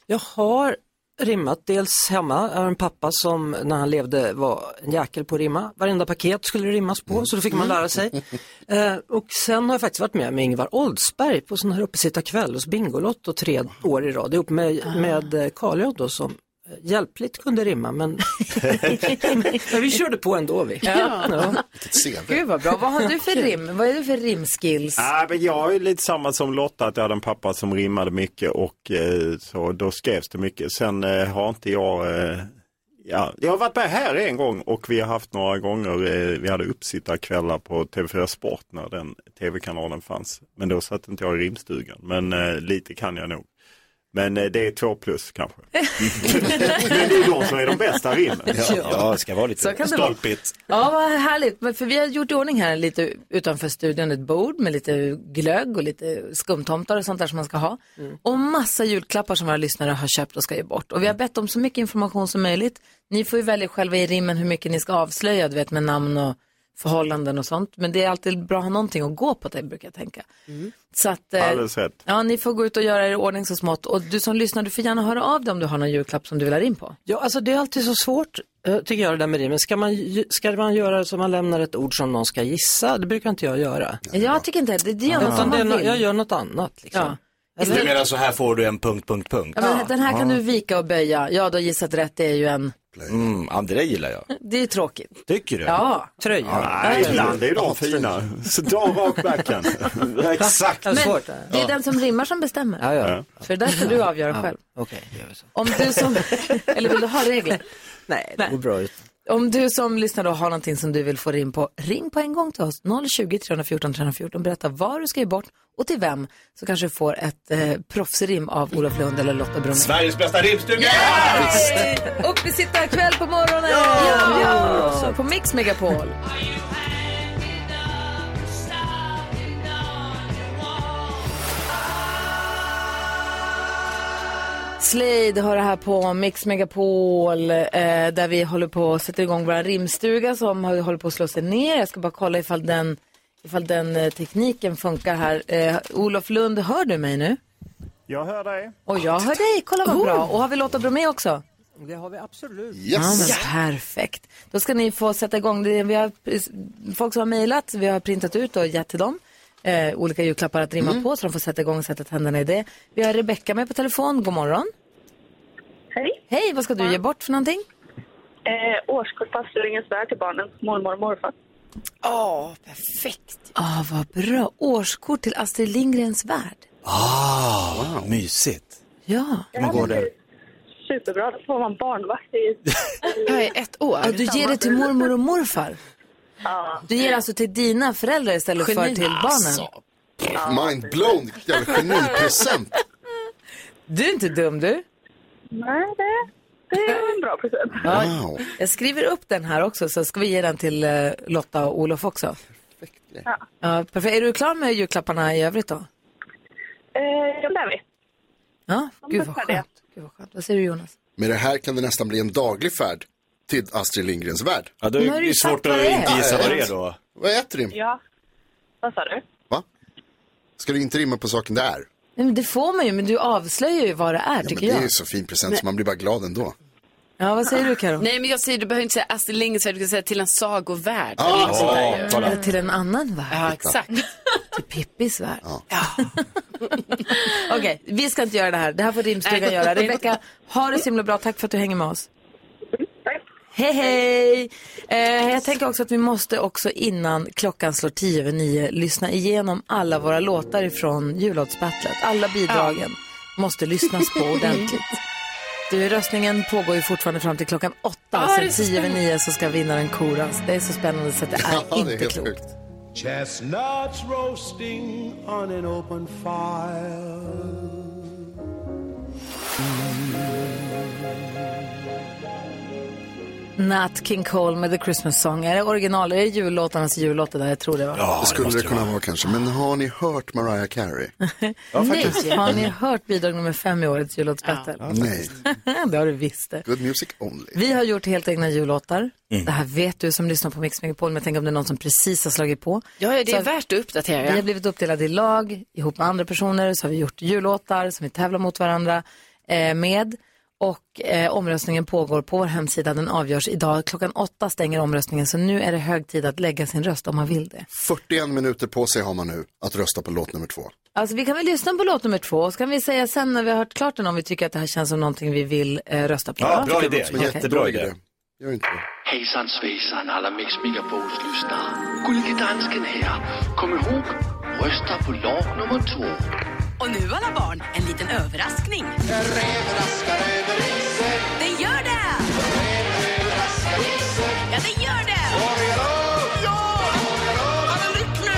Speaker 4: Jag har rimmat dels hemma. Jag har en pappa som när han levde var en jäkel på att rimma. Varenda paket skulle det rimmas på, så då fick man lära sig. Eh, och sen har jag faktiskt varit med med Ingvar Oldsberg på sån här uppesittarkväll hos Bingolotto tre år i rad ihop med, med eh, Karl-Johan då som eh, hjälpligt kunde rimma men... men vi körde på ändå vi.
Speaker 2: Ja. Gud vad bra. Vad har du för
Speaker 4: Kul.
Speaker 2: rim? Vad är du för rimskills?
Speaker 13: Nej, men jag är lite samma som Lotta, att jag hade en pappa som rimmade mycket och eh, så då skrevs det mycket. Sen eh, har inte jag, eh, ja, jag har varit med här en gång och vi har haft några gånger, eh, vi hade uppsittarkvällar på TV4 Sport när den tv-kanalen fanns. Men då satt inte jag i rimstugan, men eh, lite kan jag nog. Men eh, det är två plus kanske. men det är de som är de bästa rimmen.
Speaker 2: Ja.
Speaker 3: Ja, det ska vara lite
Speaker 2: Så kan det vara.
Speaker 3: stolpigt.
Speaker 2: Ja, vad härligt. Men för vi har gjort i ordning här lite utanför studion ett bord med lite glögg och lite skumtomtar och sånt där som man ska ha.
Speaker 4: Mm.
Speaker 2: Och massa julklappar som våra lyssnare har köpt och ska ge bort. Och vi har bett om så mycket information som möjligt. Ni får ju välja själva i rimmen hur mycket ni ska avslöja, du vet med namn och förhållanden och sånt. Men det är alltid bra att ha någonting att gå på, det brukar jag tänka. Så att, eh,
Speaker 13: Alldeles rätt.
Speaker 2: ja, ni får gå ut och göra er i ordning så smått. Och du som lyssnar, du får gärna höra av dig om du har någon julklapp som du vill ha rim på.
Speaker 4: Ja, alltså det är alltid så svårt eh, tycker jag det där med rimmen. Ska man, ju- ska man göra så man lämnar ett ord som någon ska gissa? Det brukar inte jag göra.
Speaker 2: Jag tycker inte det, det gör något
Speaker 4: Utan
Speaker 2: som
Speaker 4: det är
Speaker 2: man
Speaker 4: nå-
Speaker 2: vill.
Speaker 4: jag gör något annat. Liksom.
Speaker 2: Ja.
Speaker 3: Du menar så här får du en punkt, punkt, punkt.
Speaker 2: Ja, men Den här kan du vika och böja. Ja, du har gissat rätt. Det är ju en...
Speaker 3: Mm, ja, det där gillar jag.
Speaker 2: Det är ju tråkigt.
Speaker 3: Tycker du?
Speaker 2: Ja.
Speaker 4: Tröja.
Speaker 13: Nej, ibland är de fina. Så dra rakbacken. Exakt.
Speaker 2: Men det är den som rimmar som bestämmer.
Speaker 4: Ja, ja.
Speaker 2: Så det där får du avgöra
Speaker 4: Ja,
Speaker 2: själv.
Speaker 4: Okej,
Speaker 2: Om du som... Eller vill du ha regler?
Speaker 4: Nej, det går bra ut.
Speaker 2: Om du som lyssnar då har någonting som du vill få rim på, ring på en gång till oss. 020 314 314. Berätta vad du ska ge bort och till vem. Så kanske du får ett eh, proffsrim av Olof Lund eller Lotta Brunning.
Speaker 3: Sveriges bästa rimstuga!
Speaker 2: Upp i sitta kväll på morgonen!
Speaker 3: Ja!
Speaker 2: Ja! På Mix Megapol. Slade har det här på Mix Megapol eh, där vi håller på att sätta igång vår rimstuga som har- håller på att slå sig ner. Jag ska bara kolla ifall den, ifall den eh, tekniken funkar här. Eh, Olof Lund, hör du mig nu? Oh!
Speaker 13: Jag hör dig.
Speaker 2: Och jag hör dig, kolla vad bra. Och har vi Lotta Bromé också?
Speaker 4: Det har vi absolut.
Speaker 2: Ja, men perfekt. Då ska ni få sätta igång. Det- Vi har pris- folk som har mejlat, vi har printat ut och gett till dem eh, olika julklappar att rimma på så de får sätta igång och sätta tänderna i det. Vi har Rebecka med på telefon. God morgon.
Speaker 14: Hej.
Speaker 2: Hej, vad ska du ge bort för någonting?
Speaker 14: Eh, årskort på Asturingens värld till barnen, mormor och morfar.
Speaker 2: Åh, perfekt. Ah, vad bra. Årskort till Astrid Lindgrens värld.
Speaker 3: Ah, mysigt.
Speaker 2: Ja.
Speaker 3: Kan man gå där?
Speaker 14: Superbra, då får man barnvakt i...
Speaker 2: Jag är ett år. Ja, du ger det till mormor och morfar.
Speaker 14: Ja.
Speaker 2: Du ger alltså till dina föräldrar istället för
Speaker 14: Geni,
Speaker 2: till barnen.
Speaker 14: alltså.
Speaker 9: Mind blown, jävla genipresent.
Speaker 2: Du är inte dum du.
Speaker 14: Nej, det, det är en bra present.
Speaker 2: Ja, Jag skriver upp den här också så ska vi ge den till eh, Lotta och Olof också.
Speaker 14: Ja.
Speaker 2: Ja, perfekt. Är du klar med julklapparna i övrigt då?
Speaker 14: Eh, de där vi.
Speaker 2: Ja, gud vad
Speaker 14: färdiga.
Speaker 2: skönt. Gud vad, skönt. vad säger du Jonas?
Speaker 9: Med det här kan det nästan bli en daglig färd till Astrid Lindgrens värld.
Speaker 3: Ja, då är Nu har det ju det svårt sagt vad att det är. inte gissa vad det är då.
Speaker 9: Vad är ett rim?
Speaker 14: Ja. Vad sa du?
Speaker 9: Ska du inte rimma på saken där?
Speaker 2: Nej, men det får man ju, men du avslöjar ju vad det är
Speaker 9: Men
Speaker 2: tycker
Speaker 9: det är
Speaker 2: jag.
Speaker 9: ju så fin present så
Speaker 10: Men-
Speaker 9: man blir bara glad ändå.
Speaker 2: Ja, vad säger du Karo?
Speaker 10: Nej, men jag säger, du behöver inte säga Astrid Lindgrens värld, du kan säga till en Liksom. sagovärld.
Speaker 9: Ah,
Speaker 10: eller något sånt där ju.
Speaker 9: kolla.
Speaker 2: Eller till en annan värld.
Speaker 10: Ja, exakt.
Speaker 2: Till Pippis värld. Okej, vi ska inte göra det här. Det här får rimstugan
Speaker 10: Nej.
Speaker 2: göra. Rebecka, ha det så himla bra. Tack för att du hänger med oss. Hej, hej! Eh, jag tänker också att vi måste också innan klockan slår tio över nio lyssna igenom alla våra låtar ifrån jullåtsbattlet. Alla bidragen måste lyssnas på ordentligt. Du, röstningen pågår ju fortfarande fram till klockan åtta.
Speaker 10: Ja, det är
Speaker 2: sen
Speaker 10: så
Speaker 2: tio över
Speaker 10: spännande.
Speaker 2: nio så ska vinnaren koras. Det är så spännande så att det är inte klokt.
Speaker 6: Chestnuts roasting on an open fire.
Speaker 2: Nat King Cole med The Christmas Song. Är det original? Är det jullåtarnas jullåtar där? Jag tror det var.
Speaker 9: det skulle det, kunna vara kanske. Men har ni hört Mariah Carey?
Speaker 2: Nej, har ni hört bidrag nummer fem i årets jullåtsbattle?
Speaker 9: Nej.
Speaker 2: det har du visst det.
Speaker 9: Good music only.
Speaker 2: Vi har gjort helt egna jullåtar. Det här vet du som lyssnar på Mix Megapol, men jag tänker om det är någon som precis har slagit på.
Speaker 10: Ja, ja, det är
Speaker 2: Så-
Speaker 10: värt att uppdatera.
Speaker 2: Vi har blivit uppdelade i lag ihop med andra personer. Så har vi gjort jullåtar som vi tävlar mot varandra eh, med. Och eh, omröstningen pågår på vår hemsida. Den avgörs idag. Klockan åtta stänger omröstningen. Så nu är det hög tid att lägga sin röst om man vill det.
Speaker 9: 41 minuter på sig har man nu att rösta på låt nummer två.
Speaker 2: Alltså vi kan väl lyssna på låt nummer två. Och så kan vi säga sen när vi har hört klart den om vi tycker att det här känns som någonting vi vill eh, rösta på.
Speaker 3: Ja, bra idé.
Speaker 2: Okej.
Speaker 3: Jättebra idé.
Speaker 9: Gör inte det.
Speaker 15: Hejsan svejsan alla Mix Megapols lyssnare. Gullige dansken här. Kom ihåg, rösta på lag nummer två.
Speaker 12: Och nu alla barn, en liten överraskning. Den gör det! Ja, den gör det! Ja! Han är lycklig!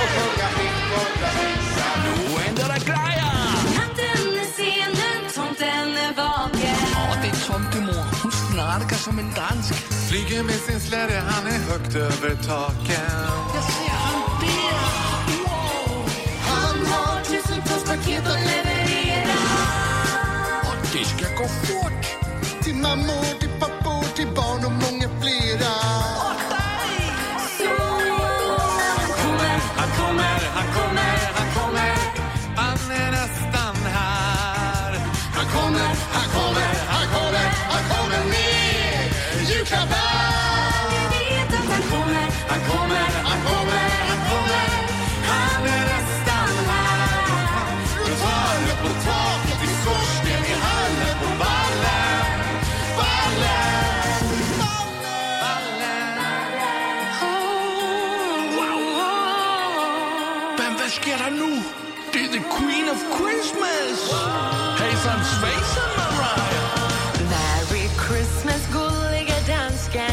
Speaker 6: Nu händer det grejer!
Speaker 12: Katten är sen, den tomten är vaken.
Speaker 6: Ja, det är tomtemor. Hon snarkar som en dansk. Flyger med sin släde, han är högt över taken.
Speaker 12: Jag ser han där! Wow! Han har tusentals paket att leverera.
Speaker 15: Det ska gå fort. Till mammor, till pappor, till barn och många flera.
Speaker 6: Han kommer, han kommer, han kommer. Han är nästan här. Han kommer, han kommer, han kommer, han kommer med julklappar. Han kommer, han kommer, han kommer, han kommer. Han är nästan här. Runt hörnet på taket, i skorsten, i hallen, på vallen. Vallen, vallen,
Speaker 15: Men vad sker det nu? Det är the queen of Christmas! Hejsan svejsan Mariah!
Speaker 12: Merry Christmas, gulliga dansken.
Speaker 6: er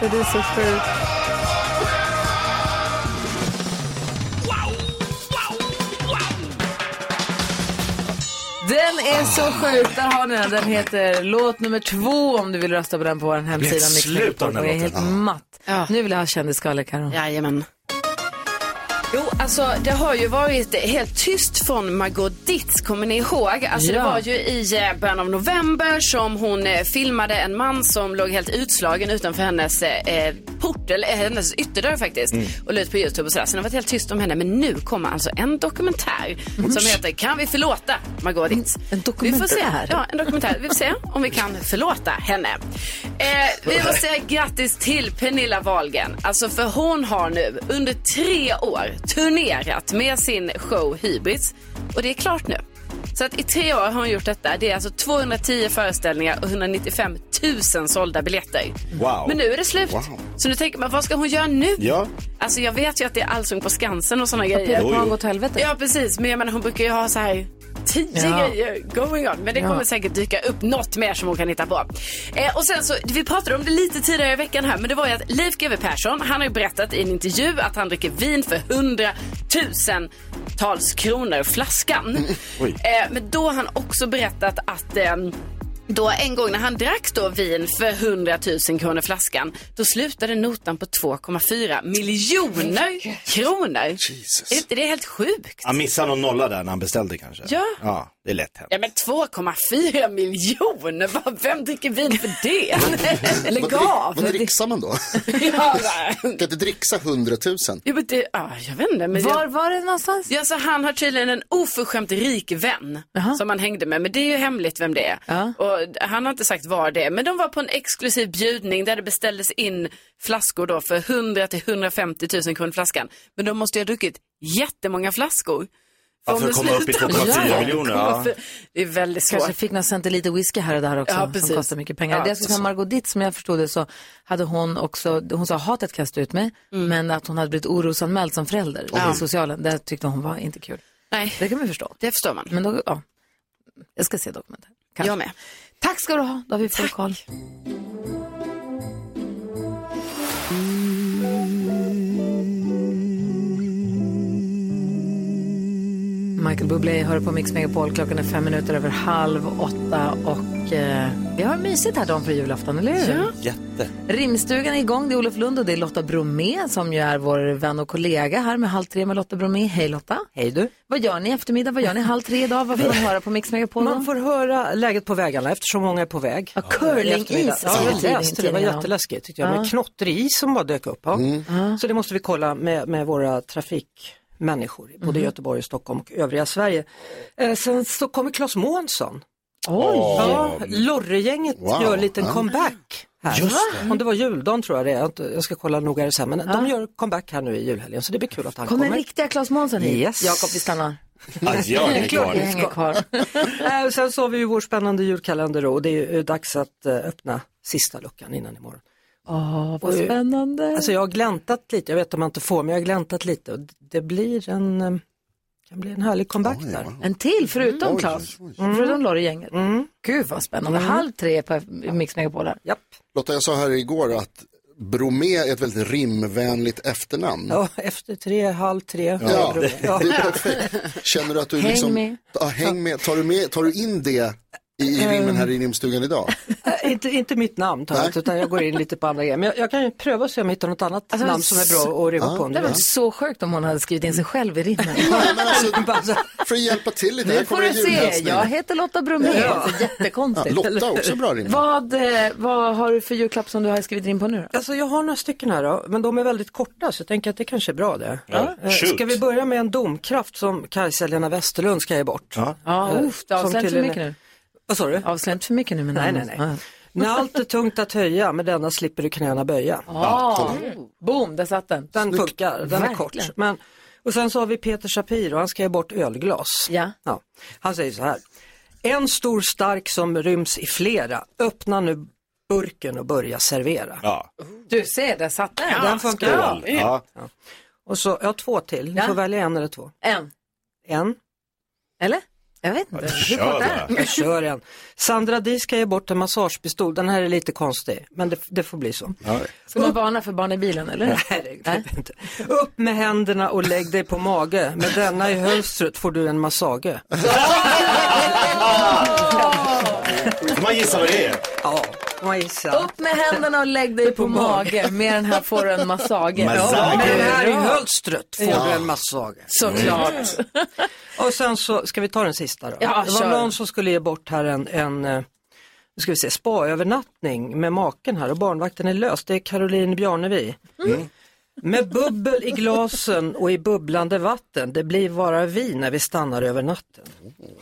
Speaker 2: Så det är så sjukt. Den är så sjuk, där har ni den. Den heter låt nummer två om du vill rösta på den på vår hemsida.
Speaker 10: Blev det
Speaker 2: Mix
Speaker 10: slut
Speaker 2: Megapol.
Speaker 10: av den här
Speaker 2: Jag är helt
Speaker 10: låten?
Speaker 2: matt. Nu vill jag ha kändisskvaller, Karo.
Speaker 10: Jajamän. Jo, alltså det har ju varit helt tyst från Margot Ditz, kommer ni ihåg? Alltså
Speaker 2: Ja.
Speaker 10: det var ju i eh, början av november som hon eh, filmade en man som låg helt utslagen utanför hennes eh, port, eller eh, hennes ytterdörr faktiskt,
Speaker 2: Mm.
Speaker 10: och la ut på YouTube och sådär. Sen har det varit helt tyst om henne, men nu kommer alltså en dokumentär
Speaker 2: Mm.
Speaker 10: som heter Kan vi förlåta Margot Ditz? En dokumentär? Vi får se. Ja, en dokumentär. Vi får se om vi kan förlåta henne. Eh, vi får säga grattis till Pernilla Wahlgren. Alltså för hon har nu under tre år turnerat med sin show Hybris. Och det är klart nu. Så att i tre år har hon gjort detta. Det är alltså 210 föreställningar och 195 000 sålda biljetter.
Speaker 6: Wow.
Speaker 10: Men nu är det slut.
Speaker 6: Wow.
Speaker 10: Så nu tänker man, vad ska hon göra nu?
Speaker 6: Ja.
Speaker 10: Alltså jag vet ju att det är Allsång på Skansen och sådana
Speaker 2: Ja,
Speaker 10: grejer.
Speaker 2: Peter Jo, Pan jo. går åt helvete.
Speaker 10: Ja, precis. Men jag menar, hon brukar ju ha så här tio
Speaker 2: Ja.
Speaker 10: grejer Eh, going on. Men det
Speaker 2: Ja.
Speaker 10: kommer säkert dyka upp något mer som hon kan hitta på. Eh, och sen så, vi pratade om det lite tidigare i veckan här, men det var ju att Leif GW Persson, han har ju berättat i en intervju att han dricker vin för hundratusentals kronor flaskan. Eh, men då har han också berättat att ehm, då en gång när han drack då vin för 100 000 kronor flaskan, då slutade notan på 2,4 miljoner kronor. Jesus. Är inte det helt sjukt?
Speaker 3: Han missade någon nolla där när han beställde kanske.
Speaker 10: Ja.
Speaker 3: Ja, det är lätt hänt.
Speaker 10: Ja men 2,4 miljoner, vad- vem dricker vin för det? Lägg av!
Speaker 9: Vad dricksar man då?
Speaker 10: Ja,
Speaker 9: kan inte dricksa hundratusen?
Speaker 10: Jo, men det, ah, jag vet inte. Men
Speaker 9: Var
Speaker 10: jag... var det någonstans? Ja, så han har tydligen en oförskämt rik vän som han hängde med, men det är ju hemligt vem det är. Och han har inte sagt var det är, men de var på en exklusiv bjudning där det beställdes in flaskor då för 100 till 150 000 kronor flaskan. Men de måste ju ha druckit jättemånga flaskor.
Speaker 3: Ja, för
Speaker 10: om
Speaker 3: att
Speaker 10: det
Speaker 3: Alltså, komma upp i
Speaker 10: slutar-
Speaker 3: 2,4
Speaker 10: Ja,
Speaker 3: miljoner, ja.
Speaker 10: Det är väldigt svårt.
Speaker 2: Kanske fick några center lite whisky här och där också,
Speaker 10: Ja,
Speaker 2: som
Speaker 10: precis.
Speaker 2: kostar mycket pengar.
Speaker 10: Ja,
Speaker 2: det jag skulle säga
Speaker 10: så.
Speaker 2: om Margot Ditt, som jag förstod det, så hade hon också, hon sa hatet kastade ut mig, men att hon hade blivit orosanmäld som förälder
Speaker 10: Mm. Ja.
Speaker 2: i socialen, det tyckte hon var inte kul.
Speaker 10: Nej.
Speaker 2: Det kan man förstå.
Speaker 10: Det förstår man.
Speaker 2: Men då, ja. Jag ska se dokumentären. Kanske.
Speaker 10: Jag med.
Speaker 2: Tack ska du ha, då har vi full koll. Michael Bublé hör på Mix Megapol. Klockan är fem minuter över halv åtta och eh, vi har mysigt här dagen för julafton, eller hur?
Speaker 3: Jätte.
Speaker 2: Rimstugan är igång. Det är Olof Lund och det är Lotta Bromé som ju är vår vän och kollega här med Halv tre med Lotta Bromé. Hej Lotta!
Speaker 4: Hej du!
Speaker 2: Vad gör ni i eftermiddag? Vad gör ni halv tre idag? Vad får man höra på Mix Megapol? då?
Speaker 4: Man får höra läget på vägarna eftersom många är på väg. Ja,
Speaker 2: curling is
Speaker 4: Ja,
Speaker 2: såg jag
Speaker 4: jag läste det, det var
Speaker 2: tidningen om.
Speaker 4: jätteläskigt tyckte jag.
Speaker 2: Ja.
Speaker 4: Men knottrig is som bara dök upp. Ja.
Speaker 2: Mm.
Speaker 4: Så det måste vi kolla med, med våra trafikmänniskor, i både
Speaker 2: Mhm.
Speaker 4: Göteborg, Stockholm och övriga Sverige. Eh, sen så kommer Claes Månsson.
Speaker 2: Oj.
Speaker 4: Ja, Lorry-gänget
Speaker 2: Wow.
Speaker 4: gör en liten
Speaker 2: Ja.
Speaker 4: comeback. Här.
Speaker 2: Just det.
Speaker 4: Om det var juldagen tror jag det är, Jag inte- jag ska kolla noggrant sen, men de gör comeback här nu i julhelgen så det blir kul att han
Speaker 2: Kommer
Speaker 4: kommer.
Speaker 2: den riktiga Claes Månsson hit?
Speaker 4: Yes.
Speaker 2: Jakob, vi stannar.
Speaker 4: Ja, jag hänger kvar.
Speaker 2: Jag hänger kvar.
Speaker 4: Eh, och sen så har vi ju vår spännande julkalender då, och det är ju eh, dags att eh, öppna sista luckan innan imorgon.
Speaker 2: Åh, vad
Speaker 4: Och, eh,
Speaker 2: spännande.
Speaker 4: Alltså jag har gläntat lite, jag vet att man inte får, men jag har gläntat lite och d- det blir en, eh, kan bli en härlig comeback där.
Speaker 2: En till förutom
Speaker 4: Mm.
Speaker 2: Claes, förutom Lorry-gänget. Gud vad spännande.
Speaker 4: Mm.
Speaker 2: Halv tre på Mix Megapol här.
Speaker 9: Lotta, jag sa här igår att Bromé är ett väldigt rimvänligt efternamn.
Speaker 4: Ja, efter tre, halv tre.
Speaker 9: Ja,
Speaker 4: Bra.
Speaker 9: det
Speaker 4: Ja.
Speaker 9: är perfekt. Känner du att du
Speaker 4: Häng
Speaker 9: liksom...
Speaker 4: med.
Speaker 9: Ja, häng med. Tar du med. Tar du in det i, i rimmen här i rimstugan idag?
Speaker 4: Eh, inte, inte mitt namn tar jag inte, utan jag går in lite på andra grejer. Men jag, jag kan ju pröva och se om jag hittar något annat
Speaker 2: Alltså,
Speaker 4: namn som är bra att rimma på. om
Speaker 2: Det
Speaker 4: du
Speaker 2: var
Speaker 4: vill.
Speaker 2: så sjukt om hon hade skrivit in sig själv i rimmen.
Speaker 9: För att hjälpa till lite. Här
Speaker 2: Nu får
Speaker 9: kommer
Speaker 2: du
Speaker 9: en
Speaker 2: se.
Speaker 9: julhälsning.
Speaker 2: Jag heter Lotta Bromé.
Speaker 9: Ja.
Speaker 2: Alltså, jättekonstigt.
Speaker 9: Ja, Lotta är också bra rim.
Speaker 2: Vad, eh, vad har du för julklapp som du har skrivit in på nu då?
Speaker 4: Alltså jag har några stycken här då, men de är väldigt korta så jag tänker att det kanske är bra det.
Speaker 2: Ja,
Speaker 4: Eh,
Speaker 2: shoot.
Speaker 4: Ska vi börja med en domkraft som Kajsa-Lena Westerlund ska ge bort? Eh, Ja,
Speaker 2: Ja, uff, det avslöjar inte för mycket nu.
Speaker 4: Vad sa du?
Speaker 2: Avslöja inte för mycket nu med
Speaker 4: Nej, nej,
Speaker 2: namnen.
Speaker 4: nej. När allt är tungt att höja, med denna slipper du knäna böja.
Speaker 2: Ja, boom, där satt den.
Speaker 4: Den funkar, den är kort.
Speaker 2: Verkligen.
Speaker 4: Men, och sen så har vi Peter Shapiro, han ska ge bort ölglas.
Speaker 2: Ja.
Speaker 4: Han säger så här. En stor stark som ryms i flera, öppna nu burken och börja servera.
Speaker 3: Ja.
Speaker 2: Du ser, där satt den.
Speaker 4: den funkar.
Speaker 2: Skål.
Speaker 4: Ja. Och så, jag har två till, ni får välja en eller två.
Speaker 2: En.
Speaker 4: En.
Speaker 2: Eller? Jag vet inte.
Speaker 4: Vi
Speaker 2: Kör
Speaker 4: pratar.
Speaker 2: bara.
Speaker 4: Jag kör en. Sandra Di ska ge bort en massagepistol. Den här är lite konstig, men det, det får bli så.
Speaker 2: Ska man varna för barn i bilen eller?
Speaker 4: Nej, det är inte. Upp med händerna och lägg dig på mage. Med denna i hölstret får du en massage.
Speaker 3: Får man gissa vad det är?
Speaker 4: Ja, man gissar.
Speaker 2: Upp med händerna och lägg dig på mage. Med den här får du en massage.
Speaker 4: Massage. Med den här i hölstret får
Speaker 2: Ja.
Speaker 4: du en massage. Mm.
Speaker 2: Såklart.
Speaker 4: Och sen så, ska vi ta den sista då?
Speaker 2: Ja,
Speaker 4: det var
Speaker 2: kör.
Speaker 4: någon som skulle ge bort här en, en eh, nu ska vi se, spaövernattning med maken här och barnvakten är lös. Det är Caroline Bjarnevi.
Speaker 6: Mm.
Speaker 4: Med bubbel i glasen och i bubblande vatten, det blir bara vi när vi stannar över natten.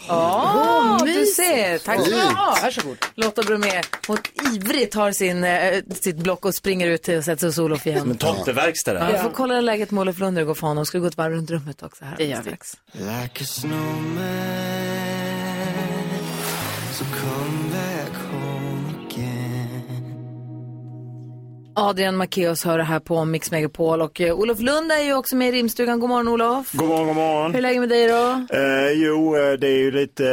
Speaker 2: Ja,
Speaker 6: Åh,
Speaker 2: du
Speaker 6: mysigt.
Speaker 2: ser. Tack ska du ha. Varsågod. Lotta Bromé, hon ivrigt tar sin, eh, sitt block och springer ut till och sätter sig hos Olof igen.
Speaker 3: Som en tomteverkstad det
Speaker 2: Ja,
Speaker 3: här.
Speaker 2: jag får kolla läget med Olof Lundgren och fan. Hon ska gå ett varv runt rummet också här.
Speaker 6: Det gör vi.
Speaker 2: strax.
Speaker 6: Like a snowman So come back home again
Speaker 2: Adrian Macéus hör det här på Mix Megapol och eh, Olof Lund är ju också med i rimstugan. God morgon Olof.
Speaker 13: God morgon, god morgon.
Speaker 2: Hur är läget med dig då?
Speaker 13: Eh, jo, eh, det är ju lite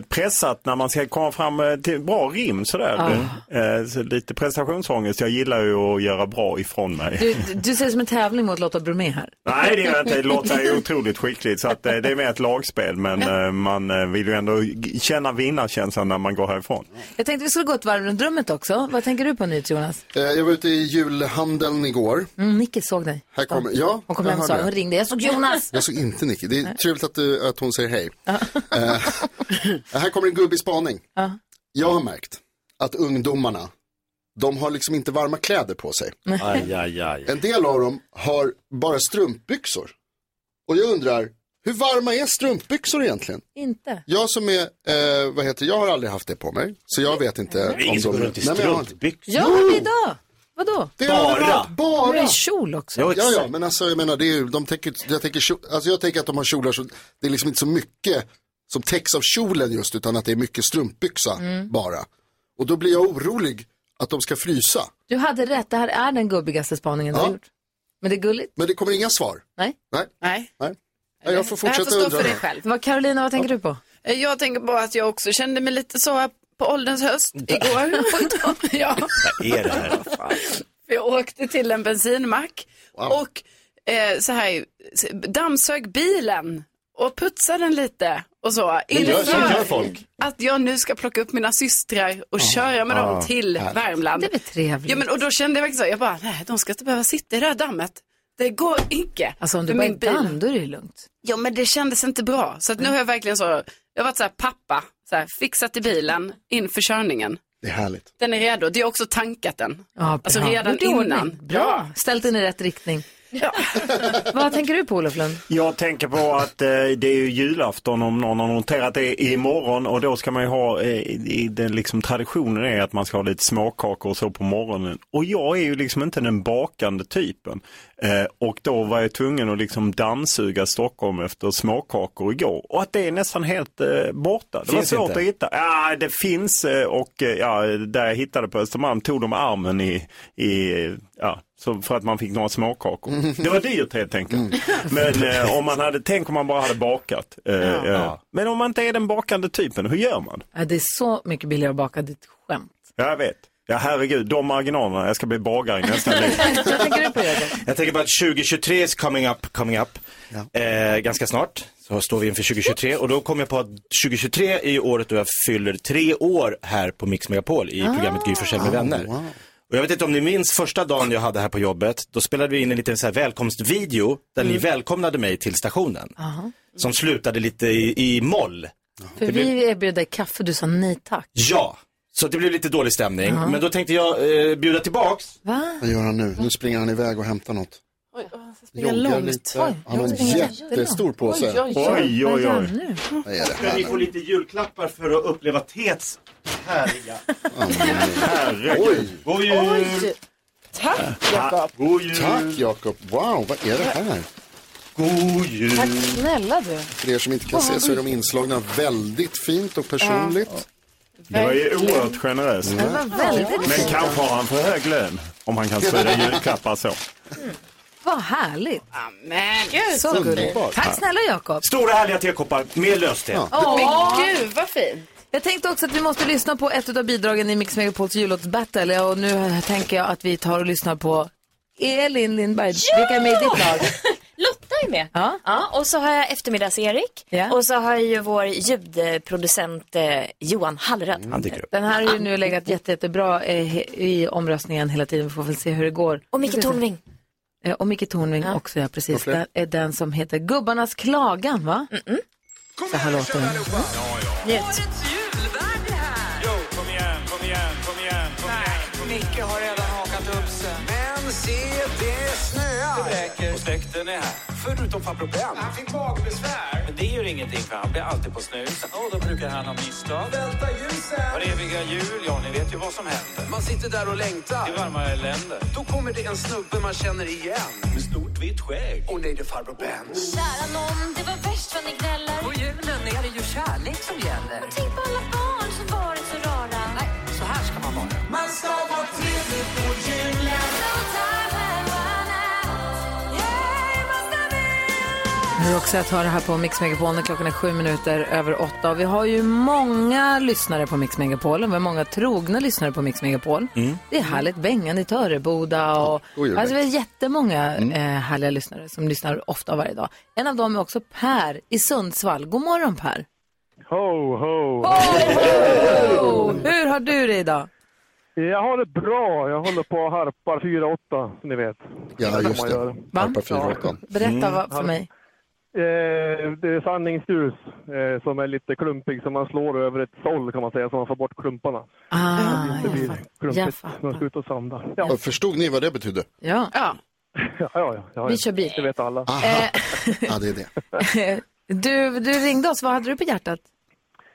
Speaker 13: eh, pressat när man ska komma fram eh, till bra rim sådär. Eh, så lite prestationsångest. Jag gillar ju att göra bra ifrån mig.
Speaker 2: Du, du- du ser ut som en tävling mot Lotta Bromé här.
Speaker 13: Nej, det gör jag inte. Lotta är otroligt skicklig så att, eh, det är mer ett lagspel men eh, man eh, vill ju ändå g- känna vinnarkänslan när man går härifrån.
Speaker 2: Jag tänkte vi skulle gå ett varv runt rummet också. Vad tänker du på nu Jonas?
Speaker 9: Eh, Jag var ute i julhandeln igår.
Speaker 2: Mm, Nicky såg dig.
Speaker 9: Här kommer, ja,
Speaker 2: Hon kom
Speaker 9: jag
Speaker 2: hem och sa,
Speaker 9: hörde.
Speaker 2: hon ringde, jag såg Jonas.
Speaker 9: Jag såg inte Nicky. Det är trevligt att, du, att hon säger hej. Eh, här kommer en gubbig spaning.
Speaker 2: Ja.
Speaker 9: Jag har märkt att ungdomarna, de har liksom inte varma kläder på sig.
Speaker 6: Aj,
Speaker 9: En del av dem har bara strumpbyxor. Och jag undrar, hur varma är strumpbyxor egentligen?
Speaker 2: Inte.
Speaker 9: Jag som är, eh, vad heter jag har aldrig haft det på mig. Så jag vet inte.
Speaker 3: Det är ingen som går runt i
Speaker 9: Nej, men jag har-
Speaker 3: strumpbyxor.
Speaker 2: Ja,
Speaker 9: Jo!
Speaker 2: men idag. Vadå?
Speaker 9: Det har Bara. överallt, bara.
Speaker 2: Men i kjol också.
Speaker 9: Ja, ja, men alltså jag menar, det är, ju- de tänker, jag, tänker, kjo- alltså, jag tänker att de har kjolar så det är liksom inte så mycket som täcks av kjolen just, utan att det är mycket strumpbyxa
Speaker 2: Mm.
Speaker 9: bara. Och då blir jag orolig att de ska frysa.
Speaker 2: Du hade rätt, det här är den gubbigaste spaningen du har gjort. Men det är gulligt.
Speaker 9: Men det kommer inga svar.
Speaker 2: Nej.
Speaker 9: Nej.
Speaker 16: Nej.
Speaker 9: Nej. Jag får fortsätta
Speaker 16: det här får stå
Speaker 9: undra.
Speaker 16: för dig själv. Eh,
Speaker 2: Vad, Carolina, vad tänker du på?
Speaker 16: Jag tänker på att jag också kände mig lite så här på ålderns höst igår. ja,
Speaker 3: Vad är det här?
Speaker 16: för jag åkte till en bensinmack
Speaker 3: Wow.
Speaker 16: och eh, så här, dammsög bilen och putsade den lite och så.
Speaker 3: Det gör- så
Speaker 16: Inför
Speaker 3: gör folk.
Speaker 16: Att jag nu ska plocka upp mina systrar och köra med
Speaker 3: Ah,
Speaker 16: dem till
Speaker 3: härligt.
Speaker 16: Värmland.
Speaker 2: Det är väl trevligt.
Speaker 16: Ja, men, och då kände jag verkligen så, här, jag bara, nej, de ska inte behöva sitta i det här dammet. Det går inte.
Speaker 2: Alltså om du
Speaker 16: För
Speaker 2: bara
Speaker 16: min
Speaker 2: är
Speaker 16: bil-
Speaker 2: damm, då är det ju lugnt.
Speaker 16: Ja, men det kändes inte bra. Så att nu har jag verkligen så, jag har varit så här pappa, så här, fixat i bilen inför körningen.
Speaker 9: Det är härligt.
Speaker 16: Den är redo. Det är också tankat den.
Speaker 2: Ja, bra.
Speaker 16: alltså redan
Speaker 2: Gjort i ordning.
Speaker 16: innan.
Speaker 2: Bra, ställt den i rätt riktning. vad tänker du på Olof Lund?
Speaker 13: Jag tänker på att eh, det är ju julafton om någon har noterat det imorgon och då ska man ju ha, eh, i den liksom traditionen är att man ska ha lite småkakor och så på morgonen. Och jag är ju liksom inte den bakande typen. Eh, och då var jag tvungen att liksom dammsuga Stockholm efter småkakor igår. Och att det är nästan helt eh, borta. Det
Speaker 3: Finns
Speaker 13: var svårt
Speaker 3: inte.
Speaker 13: att hitta. Ja, det finns eh, och eh, ja, där jag hittade på Östermalm tog de armen i, i ja, så för att man fick några småkakor. Det var dyrt helt enkelt.
Speaker 3: Mm.
Speaker 13: Men eh, om man hade, tänk om man bara hade bakat. Eh, eh. Men om man inte är den bakande typen, hur gör man?
Speaker 2: Ja, det är så mycket billigare att baka ditt skämt.
Speaker 13: Ja, jag vet. Ja herregud, de marginalerna, jag ska bli bagare i nästa liv.
Speaker 2: vad tänker du på Jörgen?
Speaker 3: Jag tänker på att 2023 is coming up, coming up. Eh, ganska snart så står vi inför 2023 och då kom jag på att 2023 är ju året då jag fyller tre år här på Mix Megapol i programmet Gry Forssell med vänner. Och jag vet inte om ni minns första dagen jag hade här på jobbet, då spelade vi in en liten så här välkomstvideo där ni välkomnade mig till stationen.
Speaker 2: Aha.
Speaker 3: Som slutade lite i, i moll.
Speaker 2: För
Speaker 3: Det blev-
Speaker 2: vi erbjöd dig kaffe, du sa nej tack.
Speaker 3: Ja, så det blev lite dålig stämning.
Speaker 2: Ja.
Speaker 3: Men då tänkte jag eh, bjuda tillbaks
Speaker 2: Va?
Speaker 9: Vad gör han nu? Nu springer han iväg och hämtar något.
Speaker 3: springa
Speaker 9: Joggar
Speaker 3: långt.
Speaker 9: lite.
Speaker 3: Oj,
Speaker 9: han har en
Speaker 3: jag springer
Speaker 9: jättestor
Speaker 3: jättelångt.
Speaker 9: påse.
Speaker 3: Oj, oj, oj. Oj, oj, oj. Vad gör han nu?
Speaker 9: Vad är det
Speaker 3: Ska ni få
Speaker 9: här?
Speaker 3: lite julklappar för att uppleva Tets härliga...
Speaker 9: Oj.
Speaker 3: Herregud. God jul!
Speaker 16: Tack
Speaker 3: Jakob. God jul!
Speaker 9: Tack Jakob. Wow, vad är det här?
Speaker 3: God jul.
Speaker 2: Tack snälla du.
Speaker 9: För er som inte kan se så är de inslagna väldigt fint och personligt.
Speaker 13: Det var ju oerhört generöst.
Speaker 9: Det var väldigt
Speaker 13: Men kanske har han för hög lön om han kan sprida julklappar så.
Speaker 2: Vad härligt.
Speaker 10: Amen.
Speaker 2: Gud, så
Speaker 3: Underbart.
Speaker 2: gulligt. Tack snälla Jakob.
Speaker 3: Stora härliga tekoppar med löste.
Speaker 2: Åh.
Speaker 10: Men gud vad fint.
Speaker 2: Jag tänkte också att vi måste lyssna på ett av bidragen i Mix Megapols jullåtsbattle och nu tänker jag att vi tar och lyssnar på Elin Lindberg. Vilka är med i ditt lag?
Speaker 5: Lotta är med. Ja. och så har jag eftermiddags-Erik. Och så har jag ju vår ljudproducent eh, Johan Hallrad. Han dyker upp.
Speaker 2: Den här har ju nu legat jätte, jättebra eh, he- i omröstningen hela tiden. Vi får väl se hur det går.
Speaker 5: Och Micke Tornving.
Speaker 2: Eh, Och Micke Tornving också, ja
Speaker 5: Och
Speaker 2: precis.
Speaker 5: fler.
Speaker 2: Det är den som heter Gubbarnas klagan, va? Mm-mm. Så här låter den. Njut.
Speaker 6: julvärd är här! Jo, kom igen, kom igen, kom igen, kom igen. Micke har redan hakat upp sig. Men se, det snöar! Det räcker. Och släkten är här, förutom farbror Ben. Han fick magbesvär. Men det gör ingenting, för han blir alltid på snus. Och då brukar han ha misstag. Välta ljusen! Var eviga jul, ja, ni vet ju vad som händer. Man sitter där och längtar. Till varmare länder. Då kommer det en snubbe man känner igen. Med stort vitt skägg. Och nej, det är farbror Ben.
Speaker 8: Kära nån, det var värst vad ni gnäller. På julen är det ju kärlek som gäller. Men tänk på Typ alla barn som varit så rara. Nej, så här ska man vara. Man ska vara trevlig på julen.
Speaker 2: Hur också att höra här på Mix Megapol när klockan är sju minuter över åtta. Och vi har ju många lyssnare på Mix Megapol och vi har många trogna lyssnare på Mix Megapol. Det är härligt. Bengan i Töreboda och...
Speaker 17: då gör det.
Speaker 2: Alltså vi har jättemånga eh, härliga lyssnare som lyssnar ofta varje dag. En av dem är också Per i Sundsvall. God morgon Per!
Speaker 11: Ho, ho!
Speaker 2: Hur har du det idag?
Speaker 11: Jag har det bra. Jag håller på och harpar 4-8, som ni vet.
Speaker 9: Ja,
Speaker 11: Som
Speaker 9: just
Speaker 11: man
Speaker 9: det.
Speaker 11: gör. Mm.
Speaker 9: Harpa 4-8.
Speaker 2: Berätta vad, för mig.
Speaker 11: Eh, Det är sanningsdus eh, som är lite klumpig, som man slår över ett såll kan man säga, så man får bort klumparna.
Speaker 2: Ah,
Speaker 11: det blir klumpigt
Speaker 2: fattar.
Speaker 11: när man ska ut och sanda. Ja,
Speaker 9: Ja, Förstod ni vad det betydde?
Speaker 2: Ja.
Speaker 11: ja, ja, ja, ja.
Speaker 2: Vi kör bil.
Speaker 11: Det vet alla.
Speaker 9: Ja, det är det.
Speaker 2: du, du ringde oss. Vad hade du på hjärtat?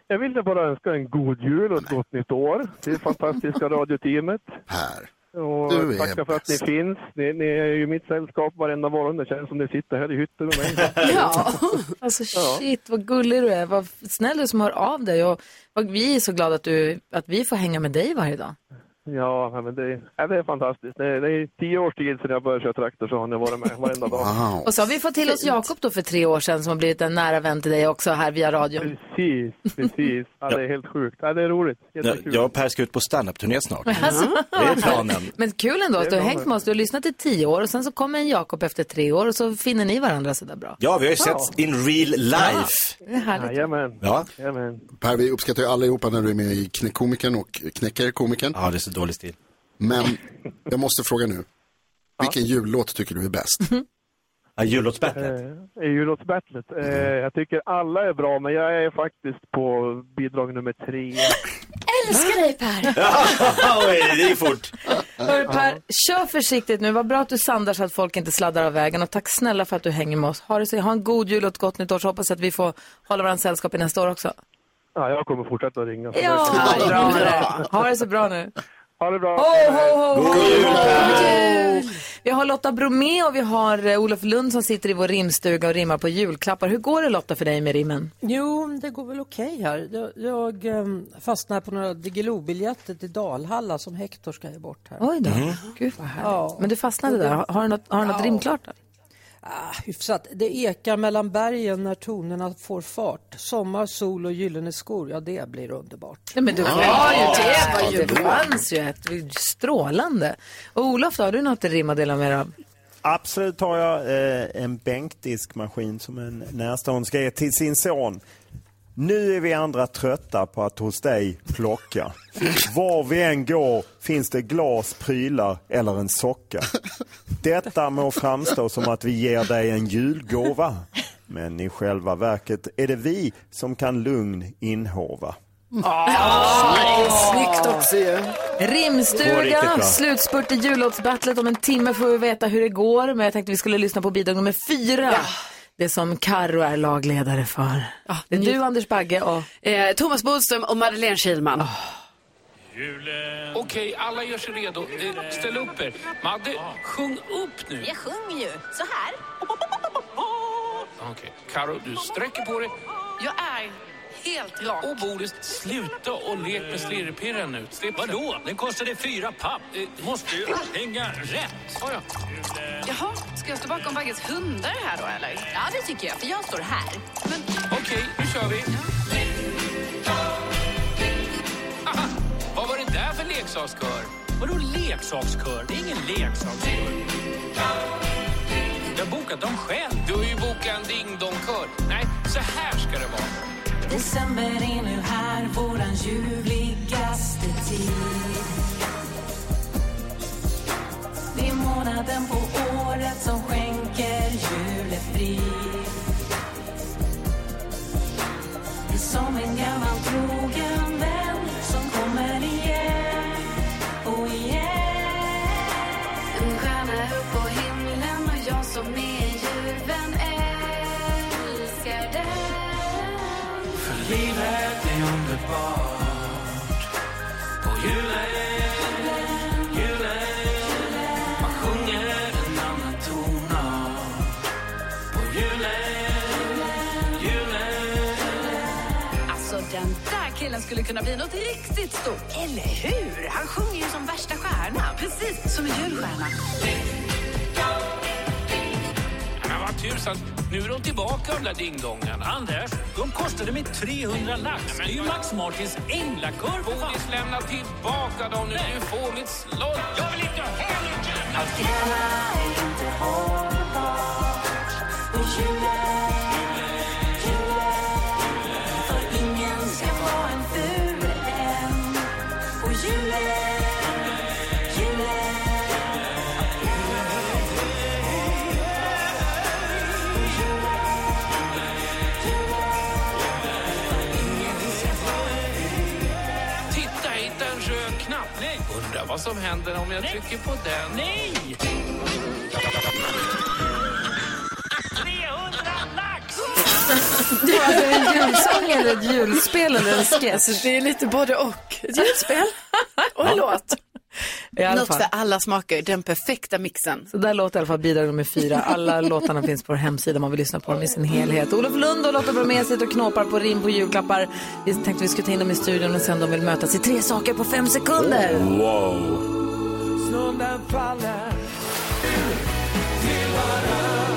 Speaker 11: Jag ville bara önska en god jul och ett gott nytt år till det fantastiska radioteamet.
Speaker 9: Här.
Speaker 11: Och
Speaker 9: Du är
Speaker 11: tacka för att ni
Speaker 9: bäst.
Speaker 11: finns. Ni, ni är ju mitt sällskap varenda morgon. Det känns som ni sitter här i hytten med mig.
Speaker 2: Ja, alltså shit vad gullig du är. Vad snäll du är som hör av dig. Och vad vi är så glada att, du, att vi får hänga med dig varje dag.
Speaker 11: Ja, nej, men det, ja, det är fantastiskt. Det är, det är tio års tid sedan jag började köra traktor så har ni varit med varenda dag.
Speaker 2: Och så har vi fått till oss Jakob då för tre år sedan som har blivit en nära vän till dig också här via
Speaker 3: Mm.
Speaker 2: radion.
Speaker 11: Precis, precis. Ja, det är helt sjukt. Ja, det är roligt.
Speaker 3: Ja, jag och Per ska ut på standup-turné snart. Mm.
Speaker 2: Alltså,
Speaker 3: Det är planen.
Speaker 2: Men kul ändå
Speaker 3: Det
Speaker 2: att
Speaker 3: är
Speaker 2: du har
Speaker 3: bra.
Speaker 2: hängt med oss. Du har lyssnat i tio år och sen så kommer en Jakob efter tre år och så finner ni varandra sådär bra.
Speaker 3: Ja, vi har ju sett in real life.
Speaker 2: Det är härligt.
Speaker 11: Jajamän.
Speaker 3: Ja.
Speaker 9: Per, vi uppskattar ju allihopa när du är med i Knäckkomikern och Knäckerkomikern.
Speaker 3: Ja, det är så dålig stil.
Speaker 9: Men jag måste fråga nu. Vilken jullåt tycker du är bäst?
Speaker 3: Ja, jullåtsbattlet.
Speaker 11: Eh, Jullåtsbattlet. Eh, jag tycker alla är bra, men jag är faktiskt på bidrag nummer tre.
Speaker 5: Älskar dig Per!
Speaker 3: Oj, det är fort.
Speaker 2: Hör Per, kör försiktigt nu. Vad bra att du sandar så att folk inte sladdar av vägen. Och tack snälla för att du hänger med oss. Ha, det så, ha en god jul och ett gott nytt år. Så hoppas jag att vi får hålla varandra sällskap i nästa år också.
Speaker 11: Ja, jag kommer fortsätta ringa.
Speaker 2: Ja, bra med det. Ha det så bra nu.
Speaker 11: Ha det bra.
Speaker 2: Ho, ho, ho, ho. God jul! Vi har Lotta Bromé och vi har eh, Olof Lund som sitter i vår rimstuga och rimmar på julklappar. Hur går det Lotta för dig med rimmen?
Speaker 4: Jo, det går väl okej här. Jag, jag ehm, fastnar på några Diggiloo-biljetter till Dalhalla som Hector ska ge bort här.
Speaker 2: Oj då. Gud vad härligt. Men du fastnade där. Har, har du något, har du något
Speaker 4: Ja.
Speaker 2: rimklart där?
Speaker 4: Ah, hyfsat. Det ekar mellan bergen när tonerna får fart. Sommar, sol och gyllene skor. Ja, det blir underbart.
Speaker 2: Nej, men du var ju det. Var ju, det fanns ju ett strålande. Och Olof, då, har du något att rimma dela med dig av?
Speaker 13: Absolut har jag eh, en bänkdiskmaskin som en närstående ska ge till sin son. Nu är vi andra trötta på att hos dig plocka. Var vi än går finns det glas, prylar eller en socka. Detta må framstå som att vi ger dig en julgåva. Men i själva verket är det vi som kan lugn inhova.
Speaker 2: Snyggt
Speaker 9: också ju.
Speaker 17: Det går riktigt
Speaker 2: Rimstuga,
Speaker 17: bra.
Speaker 2: slutspurt i jullåtsbattlet. Om en timme får vi veta hur det går. Men jag tänkte vi skulle lyssna på bidrag nummer fyra. Det som Karo är lagledare för. det är du Anders Bagge och...
Speaker 10: Eh, Thomas Bodström och Madeleine Kilman.
Speaker 6: Julen. Okej, alla gör sig redo. Eh, Ställ upp er. Madde, sjung upp nu.
Speaker 8: Jag sjunger ju så här.
Speaker 6: Okej. Karo, du sträcker på dig.
Speaker 8: Jag är
Speaker 16: Helt rak.
Speaker 7: Och Boris, sluta och lek med slirrpirren nu. Det- Vadå? Den kostade fyra papp.
Speaker 6: Eh,
Speaker 7: Det måste ju hänga rätt. Ja,
Speaker 16: Jaha, ska jag stå bakom Bagges hundar här då eller? Ja, det tycker jag, för jag står här.
Speaker 7: Okej, nu kör vi. Aha, vad var det där för leksakskör? Vadå leksakskör? Det är ingen leksakskör. Jag har bokat dem själv. Du har ju bokat en ding-dong-kör. Nej, så här ska det vara.
Speaker 12: December är nu här, våran ljuvligaste tid. Det är månaden på året som skänker julefrid. Det är som en gammal trogen vän som kommer igen och igen. En stjärna upp på himlen och jag som är julen älskar den.
Speaker 7: För livet är underbart På julen, julen Man sjunger en annan tonart På julen, julen
Speaker 8: Alltså den där killen skulle kunna bli något riktigt stort. Eller hur? Han sjunger ju som värsta stjärnan. Precis, som en julstjärna.
Speaker 7: Men vad tusan, nu är de tillbaka de där dingdongarna. Anders, de kostade mig 300 lax. Det är ju Max Martins änglakör. Bodis, lämna tillbaka dem nu. Du får mitt slott. Jag vill inte ha
Speaker 12: Att gräla är inte hållbart Och julen, julen För ingen ska vara en ful än Och julen, julen
Speaker 7: Titta, jag hittade en röd knapp. Nej. Undrar vad som händer om jag trycker på den. Nej!
Speaker 12: 300 lax!
Speaker 2: Det var alltså en julsång eller ett julspel eller en sketch?
Speaker 16: Alltså, det är lite både och. Ett julspel och en låt.
Speaker 2: I alla
Speaker 16: Något
Speaker 2: fall.
Speaker 16: för alla smaker, den perfekta mixen.
Speaker 2: Så där låter i alla fall bidrag nummer fyra. Alla låtarna finns på vår hemsida om man vill lyssna på dem i sin helhet. Olof Lund och Lotta Bromé sitter och knåpar på rim på julklappar. Vi tänkte vi skulle ta in dem i studion och sen de vill mötas i tre saker på fem sekunder.
Speaker 12: Wow!
Speaker 18: Snön faller
Speaker 9: Oh.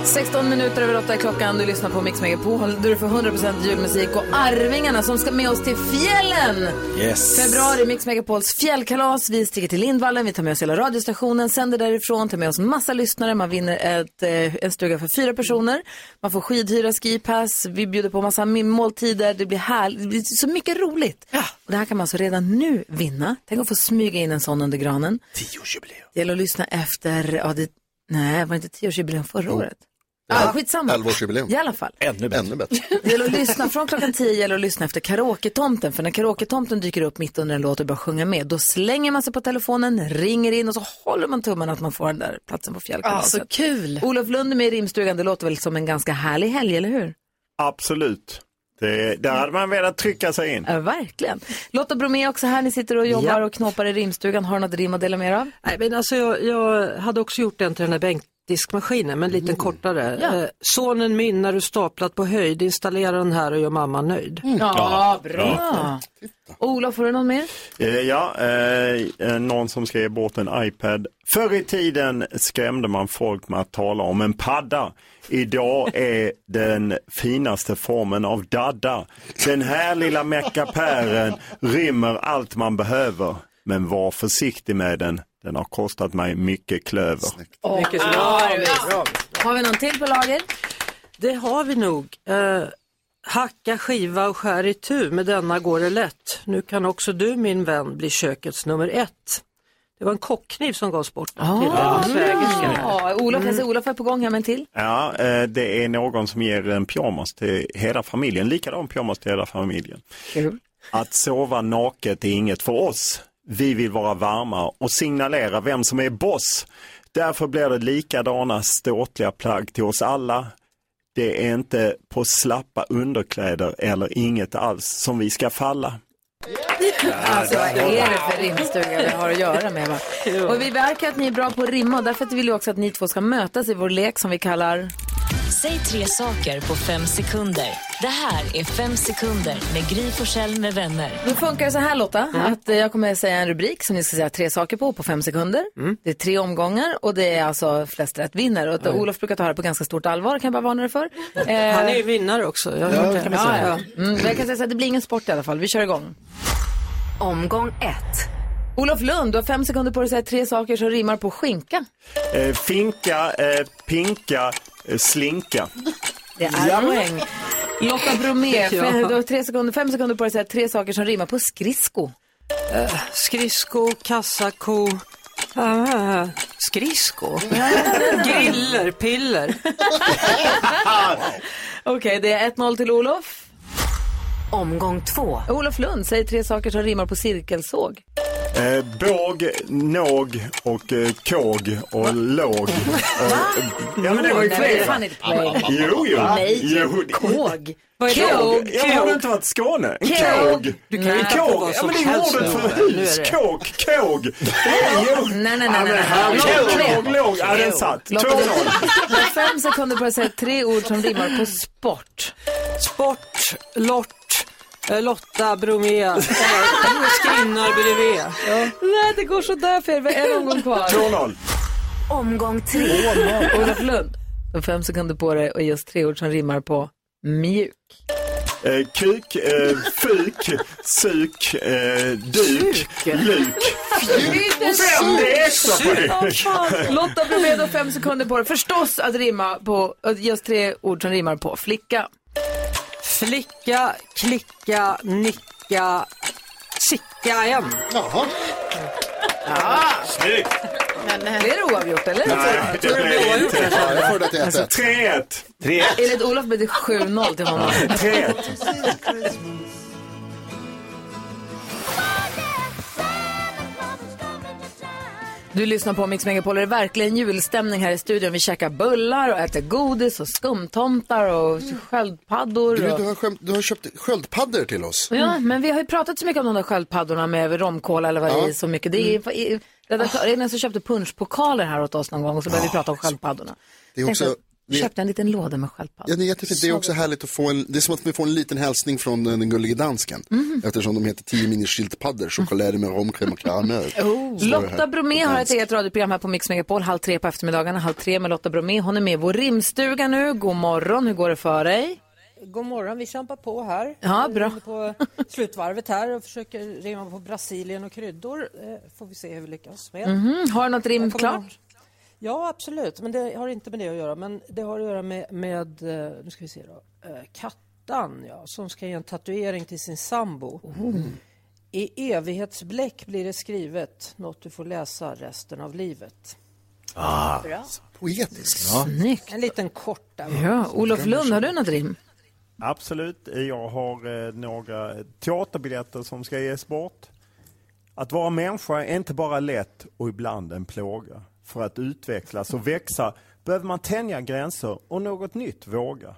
Speaker 2: 16 minuter över åtta är klockan. Du lyssnar på Mix Megapol. Du får 100% julmusik och Arvingarna som ska med oss till fjällen.
Speaker 12: Yes.
Speaker 2: Februari, Mix Megapols fjällkalas. Vi sticker till Lindvallen, vi tar med oss hela radiostationen, sänder därifrån, tar med oss massa lyssnare. Man vinner ett, eh, en stuga för fyra personer. Man får skidhyra, skipass, vi bjuder på massa mi- måltider. Det blir härligt, det blir så mycket roligt. Och det här kan man alltså redan nu vinna. Tänk att få smyga in en sån under granen. Tioårsjubileum. Det gäller att lyssna efter, ja, det, nej, var det inte tioårsjubileum förra året? Ja, skitsamma.
Speaker 9: Elvaårsjubileum.
Speaker 2: I alla fall.
Speaker 9: Ännu bättre.
Speaker 2: Det gäller att lyssna från klockan 10 gäller att lyssna efter karaoketomten. För när karaoketomten dyker upp mitt under en låt och börjar sjunga med, då slänger man sig på telefonen, ringer in och så håller man tummen att man får den där platsen på fjällkalaset.
Speaker 16: Ah, så kul!
Speaker 2: Olof Lund är med i rimstugan, det låter väl som en ganska härlig helg, eller hur?
Speaker 13: Absolut. Det, där hade man velat trycka sig in.
Speaker 2: Ja, verkligen. Lotta Bromé är också här, ni sitter och jobbar
Speaker 4: Ja.
Speaker 2: och knåpar i rimstugan. Har du något rim att dela med er av?
Speaker 4: Nej, men alltså jag, jag hade också gjort en till den här bänkdiskmaskinen, men
Speaker 2: Mm.
Speaker 4: lite kortare.
Speaker 2: Ja.
Speaker 4: Eh, sonen min när du staplat på höjd, installera den här och gör mamma nöjd.
Speaker 2: Mm. Ja,
Speaker 13: bra. bra.
Speaker 2: Olof, har du någon mer?
Speaker 13: Eh, ja, eh, eh, någon som skrev bort en iPad. Förr i tiden skrämde man folk med att tala om en padda. Idag är den finaste formen av dadda. Den här lilla meckapären rymmer allt man behöver. Men var försiktig med den. Den har kostat mig mycket klöver.
Speaker 4: Mycket bra.
Speaker 2: Har vi någon till på lager?
Speaker 4: Det har vi nog. Eh, hacka, skiva och skär i tu, med denna går det lätt. Nu kan också du min vän bli kökets nummer ett. Det var en kockkniv som gavs bort till en svägerska.
Speaker 2: Ah. Mm. Ja, Olof, jag ser Olof är på gång här med en till.
Speaker 13: Ja, eh, det är någon som ger en pyjamas till hela familjen, likadan pyjamas till hela familjen.
Speaker 2: Kul.
Speaker 13: Att sova naket är inget för oss. Vi vill vara varma och signalera vem som är boss. Därför blir det likadana ståtliga plagg till oss alla. Det är inte på slappa underkläder eller inget alls som vi ska falla.
Speaker 2: Alltså vad är det för rimstuga vi har att göra med? Va? Och vi verkar att ni är bra på att rimma och därför vill vi också att ni två ska mötas i vår lek som vi kallar
Speaker 5: Säg tre saker på fem sekunder. Det här är Fem sekunder med Gry Forssell med vänner.
Speaker 2: Då funkar det så här Lotta,
Speaker 5: Mm.
Speaker 2: att eh, jag kommer säga en rubrik som ni ska säga tre saker på på fem sekunder. Det är tre omgångar och det är alltså flest rätt vinner. Och att
Speaker 19: Oj.
Speaker 2: Olof brukar ta det här på ganska stort allvar, kan jag bara varna dig för. Mm. Han
Speaker 19: Han är ju vinnare också. Jag har hört det.
Speaker 2: eh, Ja, ja. Mm, men jag kan säga så här, det blir ingen sport i alla fall. Vi kör igång. Omgång ett. Olof Lund, du har fem sekunder på dig att säga tre saker som rimmar på skinka.
Speaker 13: Eh, finka, eh, pinka, eh, slinka.
Speaker 2: Det är
Speaker 13: Ja.
Speaker 2: poäng. Lotta Bromé,
Speaker 13: Ja.
Speaker 2: fem- du har tre sekunder, fem sekunder på dig att säga tre saker som rimmar på skridsko.
Speaker 19: Skridsko, kassako, äh, skridsko, griller, piller.
Speaker 2: Okej, det är 1-0 till Olof. Omgång två. Olof Lund, säg tre saker som rimmar på cirkelsåg.
Speaker 13: Eh, båg, någ och eh, kåg och låg. Eh, ja men det var ju
Speaker 2: Nej, men det är
Speaker 13: fel.
Speaker 2: fan inte poäng.
Speaker 13: Jo, jo.
Speaker 2: Nej.
Speaker 13: jo.
Speaker 2: Kåg. Vad är
Speaker 13: Kåg.
Speaker 2: kåg?
Speaker 13: Jag har
Speaker 2: Kåg.
Speaker 13: inte varit i Skåne.
Speaker 2: Kåg.
Speaker 13: Kåg. Mm.
Speaker 2: Du kan ju hitta på
Speaker 13: Kåg.
Speaker 2: vad
Speaker 13: Ja
Speaker 2: som
Speaker 13: men det är
Speaker 2: helst
Speaker 13: ordet
Speaker 2: nu.
Speaker 13: för
Speaker 2: Nu är
Speaker 13: hus.
Speaker 2: det.
Speaker 13: Kåk, kåg. Nej,
Speaker 2: nej, nej,
Speaker 13: Ja,
Speaker 2: nej,
Speaker 13: men
Speaker 2: nej.
Speaker 13: herregud.
Speaker 2: Kåg.
Speaker 13: Låg, låg. Ja, den satt.
Speaker 2: Lotta,
Speaker 13: 2-0.
Speaker 2: Du har fem sekunder på dig att säga tre ord som rimmar på sport.
Speaker 19: Sport, lort, eh, Lotta, Bromé, eh, Skinnar, bredvid. Ja.
Speaker 2: Nej, det går sådär för er. Vi har en omgång kvar.
Speaker 13: 2-0.
Speaker 2: Omgång tre. Olof Lund, du har fem sekunder på dig och just tre ord som rimmar på mjuk.
Speaker 13: Eh, kuk, eh, fuk, suk, eh, duk, luk. Och sen det är extra poäng.
Speaker 2: Lotta Bromé, du har fem sekunder på dig förstås att rimma på, att ge oss tre ord som rimmar på flicka.
Speaker 19: Flicka, klicka, nicka, sicka igen. Jaha.
Speaker 20: Ah,
Speaker 13: Snyggt!
Speaker 4: eh,
Speaker 2: Blir det oavgjort eller? Alltså,
Speaker 13: Nej, det blev inte.
Speaker 9: Jag får det till
Speaker 13: Alltså, 3-1. 3-1.
Speaker 2: Enligt Olof blev det 7-0 till honom.
Speaker 13: 3-1.
Speaker 2: Du lyssnar på Mix Megapol. Det är verkligen julstämning här i studion. Vi käkar bullar och äter godis och skumtomtar och sköldpaddor.
Speaker 9: Gry,
Speaker 2: och-
Speaker 9: du har, skämt, du har köpt sköldpaddor till oss. Mm.
Speaker 2: Ja, men vi har ju pratat så mycket om de där sköldpaddorna med romkola eller vad det
Speaker 9: Ja. Mm.
Speaker 2: är så mycket. Det är i- redaktör Elin som köpte punschpokaler här åt oss någon gång och så började vi prata om sköldpaddorna.
Speaker 9: Det är också-
Speaker 2: Tänkte,
Speaker 9: det-
Speaker 2: köpte en liten låda med sköldpaddor.
Speaker 9: Ja, det, är jättefint. det är också härligt att få en, det är som att vi får en liten hälsning från eh, den gullige dansken.
Speaker 2: Mhm.
Speaker 9: Eftersom de heter 10 mini skiltpaddor, choklad med romkräm och klarnöt. Står Oh. det här.
Speaker 2: Oh. Lotta Bromé har ett eget radioprogram här på Mix Megapol, halv tre på eftermiddagarna, halv tre med Lotta Bromé. Hon är med i vår rimstuga nu. God morgon, hur går det för dig?
Speaker 4: God morgon, vi kämpar på här.
Speaker 2: Ja,
Speaker 4: Vi
Speaker 2: bra.
Speaker 4: är På slutvarvet här och försöker rimma på Brasilien och kryddor. Eh, Får vi se hur vi lyckas med.
Speaker 2: Mhm, Har du något rim
Speaker 4: Jag kommer
Speaker 2: klart?
Speaker 4: ihåg- Ja, absolut. Men det har inte med det att göra. Men det har att göra med, med eh, nu ska vi se då, eh, Kattan ja, som ska ge en tatuering till sin sambo.
Speaker 2: Oh.
Speaker 4: I evighetsbläck blir det skrivet något du får läsa resten av livet.
Speaker 9: Ah,
Speaker 4: Bra.
Speaker 9: Poetiskt.
Speaker 2: Snyggt.
Speaker 4: En liten kort där.
Speaker 2: Ja, Olof Lund, har du något rim?
Speaker 13: Absolut. Jag har eh, några teaterbiljetter som ska ges bort. Att vara människa är inte bara lätt och ibland en plåga. För att utvecklas och växa behöver man tänja gränser och något nytt våga.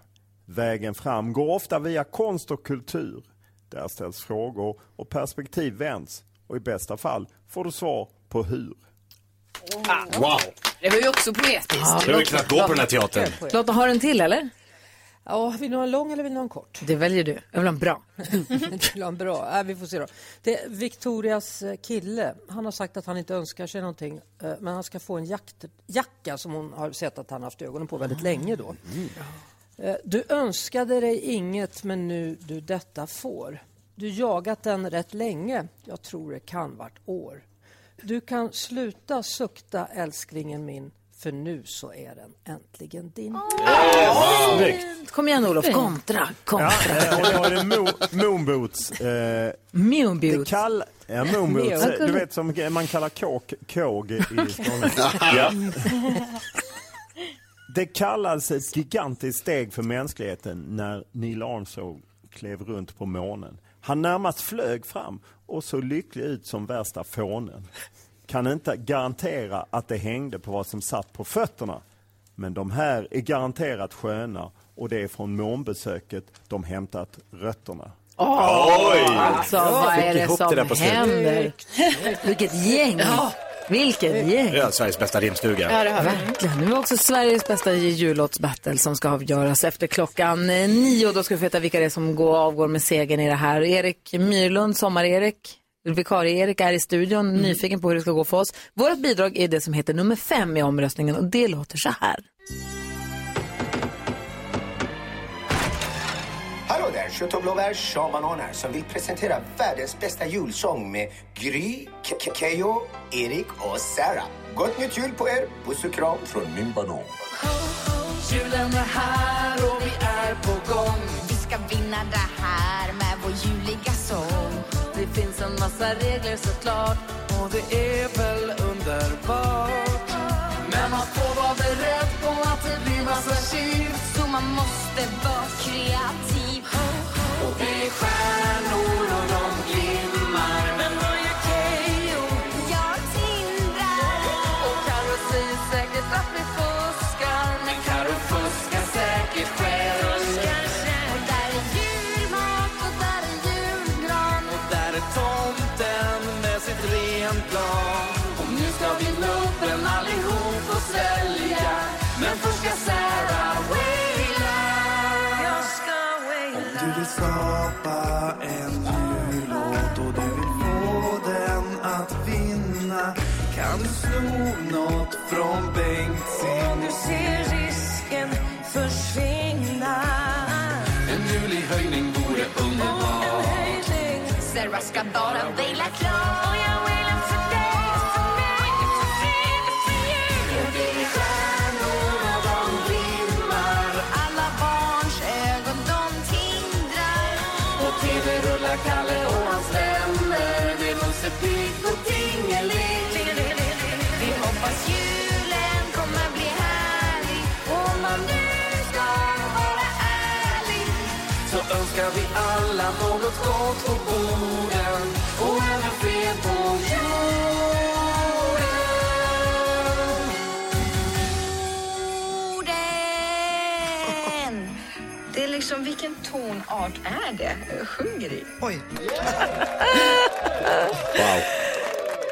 Speaker 13: Vägen fram går ofta via konst och kultur. Där ställs frågor och perspektiv vänds och i bästa fall får du svar på hur.
Speaker 16: Ah.
Speaker 10: Wow.
Speaker 2: Det var ju också poetiskt.
Speaker 10: Jag vill knappt gå på den här teatern.
Speaker 2: Lotta, har du en till eller?
Speaker 4: Ja, vill du ha en lång eller vill du ha en kort?
Speaker 2: Det väljer du. Jag vill ha en bra.
Speaker 4: Till en bra. Äh, vi får se då. Det är Victorias eh, kille, han har sagt att han inte önskar sig någonting eh, men han ska få en jakt, jacka som hon har sett att han haft ögonen på väldigt länge då. Eh, Du önskade dig inget men nu du detta får. Du jagat den rätt länge, jag tror det kan vart år. Du kan sluta sukta älsklingen min för nu så är den äntligen din.
Speaker 13: Snyggt.
Speaker 2: Ah, Kom igen Olof, kontra, kontra.
Speaker 13: Eh, Och då är det Mo- Moonboots. Eh,
Speaker 2: Moonboots.
Speaker 13: Det kall- ja, Moonboots.
Speaker 2: Moonboots.
Speaker 13: Du vet som man kallar kåk, kåg i Skåne. ja. Det kallas ett gigantiskt steg för mänskligheten när Neil Armstrong klev runt på månen. Han närmast flög fram och såg lycklig ut som värsta fånen. Kan inte garantera att det hängde på vad som satt på fötterna. Men de här är garanterat sköna och det är från månbesöket de hämtat rötterna.
Speaker 2: Alltså, Åh, Alltså, vad är det som händer? Vilket gäng. Vilket gäng!
Speaker 3: Ja, alltså Sveriges bästa rimstuga.
Speaker 2: Ja, det har vi. Verkligen. Nu har vi också Sveriges bästa jullåtsbattle som ska avgöras efter klockan eh, nio. Då ska vi få veta vilka det är som går, avgår med segern i det här. Erik Myrlund, Sommar-Erik, vikarie-Erik är i studion, nyfiken på hur det ska gå för oss. Vårt bidrag är det som heter nummer fem i omröstningen och det låter så här.
Speaker 20: Hallå där, kött och blåbär Shamanon här som vill presentera världens bästa julsång med Gry, Ke- Ke- Keyyo, Erik och Sarah. Gott nytt jul på er! Puss och kram från min banan.
Speaker 8: Julen är här och vi är på gång. Vi ska vinna det här med vår juliga sång. Det finns en massa regler såklart och det är väl underbart. Men man får vara beredd på att det blir massa tjiv. Så man måste vara kreativ. Och det är stjärnor och de glimmar. Men vad gör Keyyo? Jag tindrar. Och Carro säger säkert att vi fuskar. Men Carro fuskar säkert själv. Och där är julmat och där är julgran. Och där är tomten med sitt renplan. Och nu ska vi nubben allihop och svälja. Men först ska Sarah waila. Jag ska waila.
Speaker 6: Du vill skapa en jullåt och du vill få den att vinna Kan du sno något från Bengtzing?
Speaker 8: Om du ser risken försvinna
Speaker 6: En julig höjning vore
Speaker 8: En
Speaker 6: underbar
Speaker 8: höjning Sarah ska bara vila klart Och jag wailar för dig, för mig, för dig, för dig Och det är stjärnor och de glimmar Alla barns ögon de tindrar Och TV rullar Kalle och hans vänner Det är Musse Pigg och Tingeling Vi hoppas julen kommer bli härlig Om man nu ska vara ärlig
Speaker 6: Så önskar vi alla något gott på borden och även fred på jorden
Speaker 8: Orden! Det är liksom, vilken tonart är det? Sjunger i? Oj.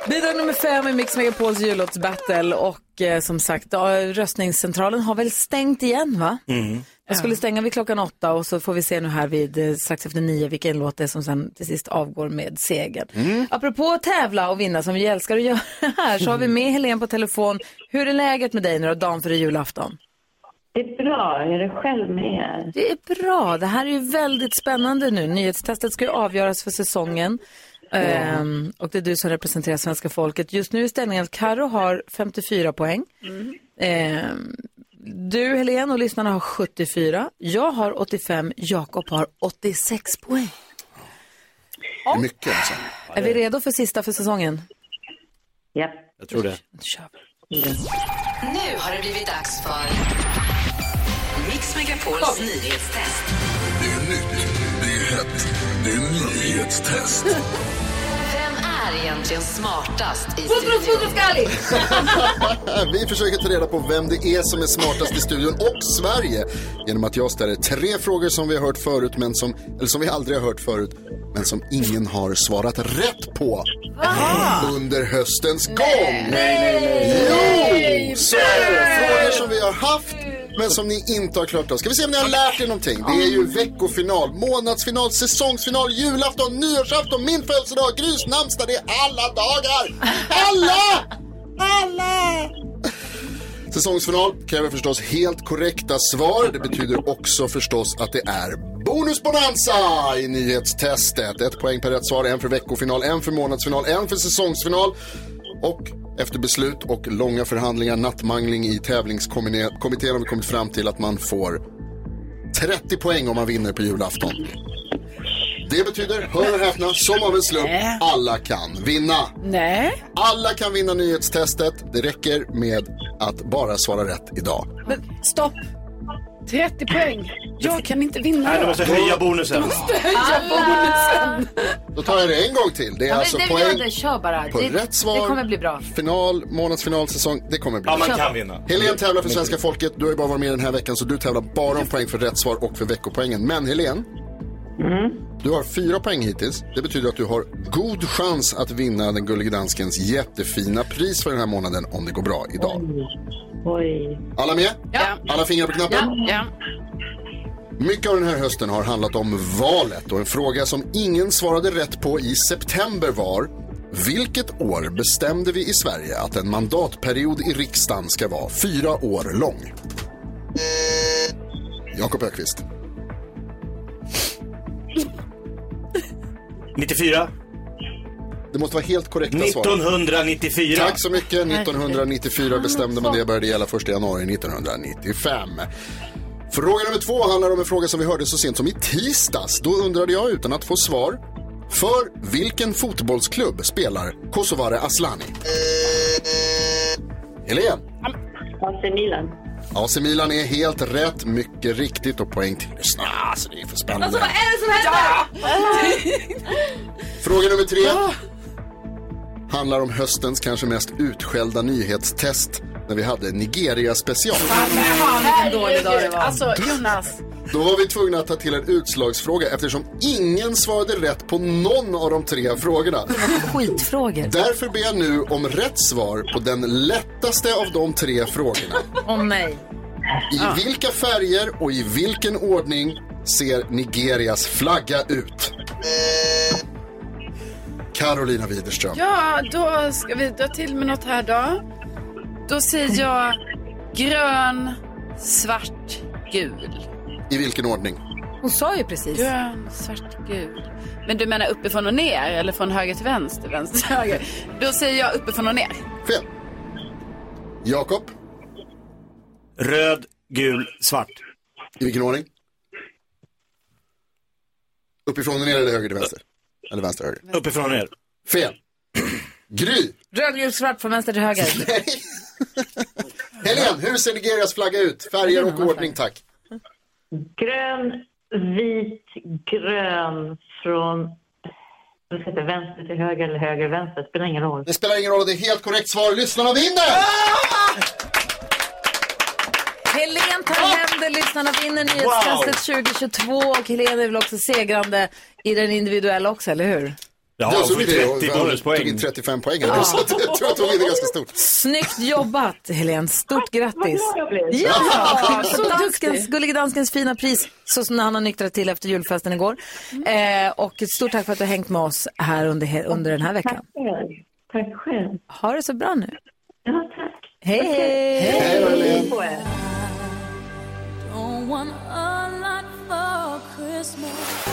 Speaker 2: Bidrag nummer fem i Mix Megapols jullåtsbattle och eh, som sagt, ja, röstningscentralen har väl stängt igen va?
Speaker 3: Mm.
Speaker 2: Jag skulle stänga vid klockan åtta och så får vi se nu här vid eh, strax efter nio vilken låt det är som sen till sist avgår med segern. Apropå att tävla och vinna som vi älskar att göra här så har vi med Helene på telefon. Hur är läget med dig nu då, dagen före julafton?
Speaker 11: Det är bra, är det själv med er?
Speaker 2: Det är bra. Det här är ju väldigt spännande nu. Nyhetstestet ska ju avgöras för säsongen. Ehm, och det är du som representerar svenska folket. Just nu är ställningen att Karo har 54 poäng. Ehm, du, Helene, och lyssnarna har 74. Jag har 85. Jakob har 86 poäng.
Speaker 9: Det är mycket alltså.
Speaker 2: Är vi redo för sista för säsongen?
Speaker 11: Ja.
Speaker 3: Jag tror det.
Speaker 8: Nu har det blivit dags för Mix Megapols nyhetstest.
Speaker 6: Det är nyhetstest.
Speaker 8: Vem är egentligen smartast i
Speaker 2: Fotos, fotos, Kali!
Speaker 9: Vi försöker ta reda på vem det är som är smartast i studion och Sverige genom att jag ställer tre frågor som vi har hört förut, men som, eller som vi aldrig har hört förut, men som ingen har svarat rätt på under höstens gång. Jo, så är det. Frågor som vi har haft men som ni inte har klart av. Ska vi se om ni har lärt er någonting? Det är ju veckofinal, månadsfinal, säsongsfinal, julafton, nyårsafton, min födelsedag, Grys namnsdag. Det är alla dagar! Alla! Alla! Säsongsfinal kräver förstås helt korrekta svar. Det betyder också förstås att det är bonusbonanza i nyhetstestet. Ett poäng per rätt svar, en för veckofinal, en för månadsfinal, en för säsongsfinal. Och efter beslut och långa förhandlingar, nattmangling i tävlingskommittén har vi kommit fram till att man får 30 poäng om man vinner på julafton. Det betyder, hör och häpna, som av en slump, alla kan vinna.
Speaker 2: Nej.
Speaker 9: Alla kan vinna nyhetstestet. Det räcker med att bara svara rätt idag.
Speaker 16: Men stopp. 30 poäng. Jag kan inte vinna.
Speaker 9: Nej, du måste höja bonusen.
Speaker 16: Du måste höja bonusen.
Speaker 9: Då tar jag det en gång till. Det är
Speaker 2: Ja, men
Speaker 9: alltså
Speaker 2: det vill jag
Speaker 9: poäng
Speaker 2: inte. Kör bara.
Speaker 9: på
Speaker 2: det,
Speaker 9: rätt svar.
Speaker 2: Det kommer bli bra.
Speaker 9: Final, månadsfinal, säsong. Det kommer bli
Speaker 3: Ja, man
Speaker 9: bra.
Speaker 3: kan vinna.
Speaker 9: Helen tävlar för svenska folket. Du har ju bara varit med den här veckan så du tävlar bara om poäng för rätt svar och för veckopoängen. Men Helen, Du har fyra poäng hittills. Det betyder att du har god chans att vinna den Gullige Danskens jättefina pris för den här månaden om det går bra idag.
Speaker 8: Oj.
Speaker 9: Alla med?
Speaker 8: Ja.
Speaker 9: Alla fingrar på knappen? Mycket av den här hösten har handlat om valet och en fråga som ingen svarade rätt på i september var vilket år bestämde vi i Sverige att en mandatperiod i riksdagen ska vara fyra år lång? Jakob Ökvist.
Speaker 3: 94.
Speaker 9: Det måste vara helt korrekta svar.
Speaker 3: 1994.
Speaker 9: Tack så mycket. 1994 bestämde man det började gälla 1 januari 1995. Fråga nummer två handlar om en fråga som vi hörde så sent som i tisdags. Då undrade jag utan att få svar. För vilken fotbollsklubb spelar Kosovare Aslani? Helene.
Speaker 8: AC Milan.
Speaker 9: AC Milan är helt rätt, mycket riktigt och poäng till lyssnarna. Alltså det är för spännande.
Speaker 14: Alltså vad är det som händer?
Speaker 9: Fråga nummer tre
Speaker 14: Ah!
Speaker 9: handlar om höstens kanske mest utskällda nyhetstest när vi hade Nigeria special.
Speaker 21: Fan vilken dålig dag det var.
Speaker 10: Alltså,
Speaker 21: Jonas.
Speaker 9: Då var vi tvungna att ta till en utslagsfråga eftersom ingen svarade rätt på någon av de tre frågorna.
Speaker 2: Skitfrågor.
Speaker 9: Därför ber jag nu om rätt svar på den lättaste av de tre frågorna.
Speaker 2: Åh nej.
Speaker 9: I vilka färger och i vilken ordning ser Nigerias flagga ut? Carolina Widerström.
Speaker 10: Ja, då ska vi dra till med något här då. Då säger jag grön, svart, gul.
Speaker 9: I vilken ordning?
Speaker 2: Hon sa ju precis.
Speaker 10: Grön, svart, gul. Men du menar uppifrån och ner eller från höger till vänster, vänster till höger? Då säger jag uppifrån och ner.
Speaker 9: Fel. Jakob.
Speaker 3: Röd, gul, svart.
Speaker 9: I vilken ordning? Uppifrån och ner eller höger till vänster? Eller vänster och höger?
Speaker 3: Uppifrån och ner.
Speaker 9: Fel. Gry.
Speaker 2: Röd, gul, svart från vänster till höger.
Speaker 9: Helene, hur ser Nigerias flagga ut? Färger och ordning, tack.
Speaker 8: Grön, vit, grön från jag vet inte, vänster till höger eller höger vänster. Spelar ingen roll.
Speaker 9: Det spelar ingen roll, det är helt korrekt svar. Lyssnarna vinner!
Speaker 2: Helen tar hem det, lyssnarna vinner nyhetstestet 2022 och Helen är väl också segrande i den individuella också, eller hur?
Speaker 3: Ja,
Speaker 9: Det är alltså
Speaker 3: hon får
Speaker 9: det,
Speaker 3: 30
Speaker 9: och hon
Speaker 3: bonuspoäng.
Speaker 9: Tog in 35 poäng här,
Speaker 2: Ja.
Speaker 9: så att jag tror att hon vinner ganska stort.
Speaker 2: Snyggt jobbat Helen, stort grattis! Ja, så danskens, Gullige Danskens fina pris, så som när han har nyktrat till efter julfesten igår.
Speaker 8: Mm.
Speaker 2: Eh, och ett stort tack för att du har hängt med oss här under, he- under den här veckan.
Speaker 8: Tack själv.
Speaker 2: Ha det så bra nu!
Speaker 8: Ja, tack.
Speaker 2: Hej, hej!
Speaker 8: Hej på er.
Speaker 6: Don't want a lot for Christmas.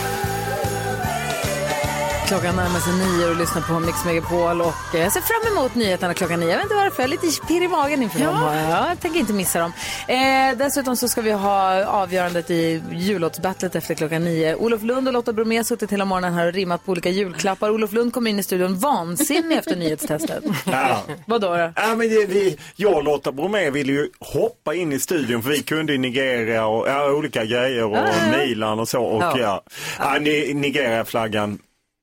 Speaker 2: Klockan närmar sig nio och lyssnar på Mix Megapol och eh, jag ser fram emot nyheterna klockan nio. Jag vet inte varför, jag är lite pirr i magen inför dem. Ja, jag tänker inte missa dem. Eh, dessutom så ska vi ha avgörandet i jullåtsbattlet efter klockan nio. Olof Lund och Lotta Bromé har suttit hela morgonen här och rimmat på olika julklappar. Olof Lund kom in i studion vansinnig efter nyhetstestet.
Speaker 13: Ja.
Speaker 2: Vadå då?
Speaker 13: Ja, men det, vi, jag och Lotta Bromé ville ju hoppa in i studion för vi kunde i Nigeria och ja, olika grejer och Milan och så. Och,
Speaker 14: Ja.
Speaker 13: ja. Ja. ni, Nigeria-flaggan.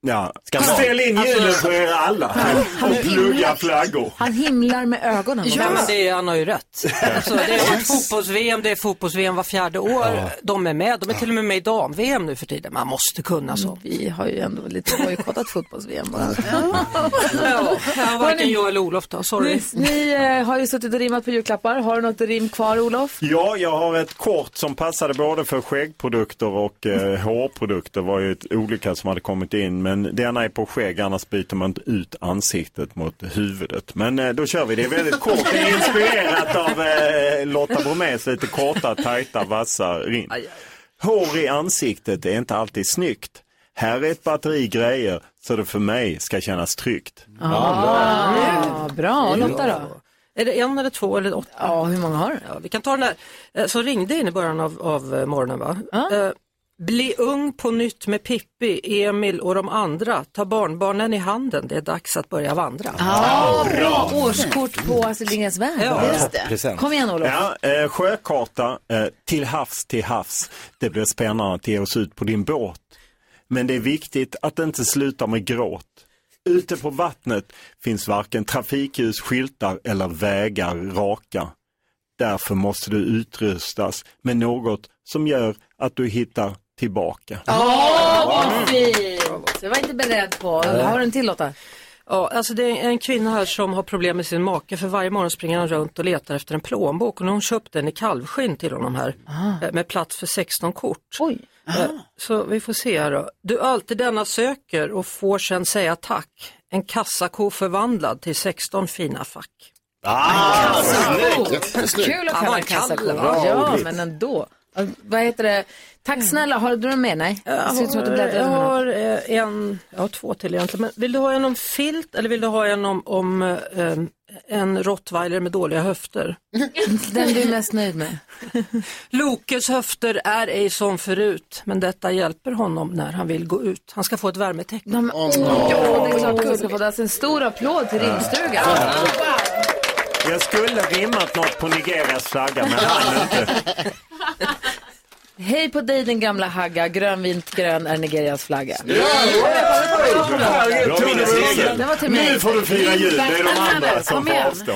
Speaker 13: Ja.
Speaker 14: Skandal.
Speaker 13: Ställ in
Speaker 14: Alltså-
Speaker 13: hjulen på er alla och plugga flaggor.
Speaker 2: Han himlar med ögonen.
Speaker 4: Ja, men det är, han har ju rätt. Alltså, det är fotbolls-VM, det är fotbolls-VM var fjärde år. De är med, de är till och med med i dam-VM nu för tiden. Man måste kunna så.
Speaker 2: Vi har ju ändå lite bojkottat fotbolls-VM bara.
Speaker 4: Ja, varken jag eller Olof då, sorry.
Speaker 2: Ni, ni eh, har ju suttit och rimmat på julklappar. Har du något rim kvar, Olof?
Speaker 13: Ja, jag har ett kort som passade både för skäggprodukter och eh, hårprodukter. Det var ju ett, olika som hade kommit in. Men denna är på skägg, annars byter man inte ut ansiktet mot huvudet. Men eh, då kör vi. Det är väldigt kort. Det är inspirerat av eh, Lotta Bromés lite korta, tajta, vassa rim. Hår i ansiktet är inte alltid snyggt. Här är ett batteri grejer så det för mig ska kännas tryggt.
Speaker 2: Ah, bra. Och Lotta då?
Speaker 4: Är det en eller två eller åtta?
Speaker 2: Ja, hur många har du?
Speaker 4: Ja, vi kan ta den här eh, som ringde in i början av, av eh, morgonen. Va? Eh, Bli ung på nytt med Pippi, Emil och de andra. Ta barnbarnen i handen, det är dags att börja vandra.
Speaker 2: Ja, Ah, bra årskort på Astrid Lindgrens värld.
Speaker 13: Ja, Just det. toppresent.
Speaker 2: Kom igen Olof.
Speaker 13: Ja, eh, sjökarta, eh, till havs, till havs. Det blir spännande att ge oss ut på din båt. Men det är viktigt att inte sluta med gråt. Ute på vattnet finns varken trafikljus, skyltar eller vägar raka. Därför måste du utrustas med något som gör att du hittar
Speaker 22: tillbaka.
Speaker 2: Åh, vad fint! Det var jag inte beredd på. Har du en till Lotta?
Speaker 4: Eh. Ja, alltså det är en kvinna här som har problem med sin make för varje morgon springer han runt och letar efter en plånbok och nu har hon köpt den i kalvskinn till honom här
Speaker 2: Ah.
Speaker 4: eh, med plats för 16 kort. Eh, Så vi får se här då. Du alltid denna söker och får sen säga tack. En kassako förvandlad till 16 fina fack.
Speaker 22: Ah,
Speaker 2: Kassako!
Speaker 4: Jättesnyggt.
Speaker 2: Kul
Speaker 4: Ja,
Speaker 2: att kalla
Speaker 4: man
Speaker 2: en
Speaker 4: kan
Speaker 2: kassako.
Speaker 4: det. Bra
Speaker 2: Ja,
Speaker 4: ordvits.
Speaker 2: men ändå. Eh, Vad heter det? Tack snälla, har du några mer? Nej? Det ser ut som att du bläddrar
Speaker 4: jag
Speaker 2: med något.
Speaker 4: har eh, en, jag har två till egentligen. Men vill du ha en om filt eller vill du ha en om, om eh, em, en rottweiler med dåliga höfter?
Speaker 2: Den du är mest nöjd med.
Speaker 4: Lokes höfter är ej som förut, men detta hjälper honom när han vill gå ut. Han ska få ett värmetecken.
Speaker 2: Ja, det är klart att du ska få alltså, en stor applåd till rimstugan.
Speaker 13: Jag skulle rimmat något på Nigerias flagga men han inte.
Speaker 2: Hej på dig din gamla hagga, grön, vit, grön är Nigerias flagga.
Speaker 10: Bra minnesregel.
Speaker 2: Det var till mig.
Speaker 10: Nu får du fira jul. Det är de andra
Speaker 2: Kom
Speaker 10: som får
Speaker 2: igen.
Speaker 10: avstå.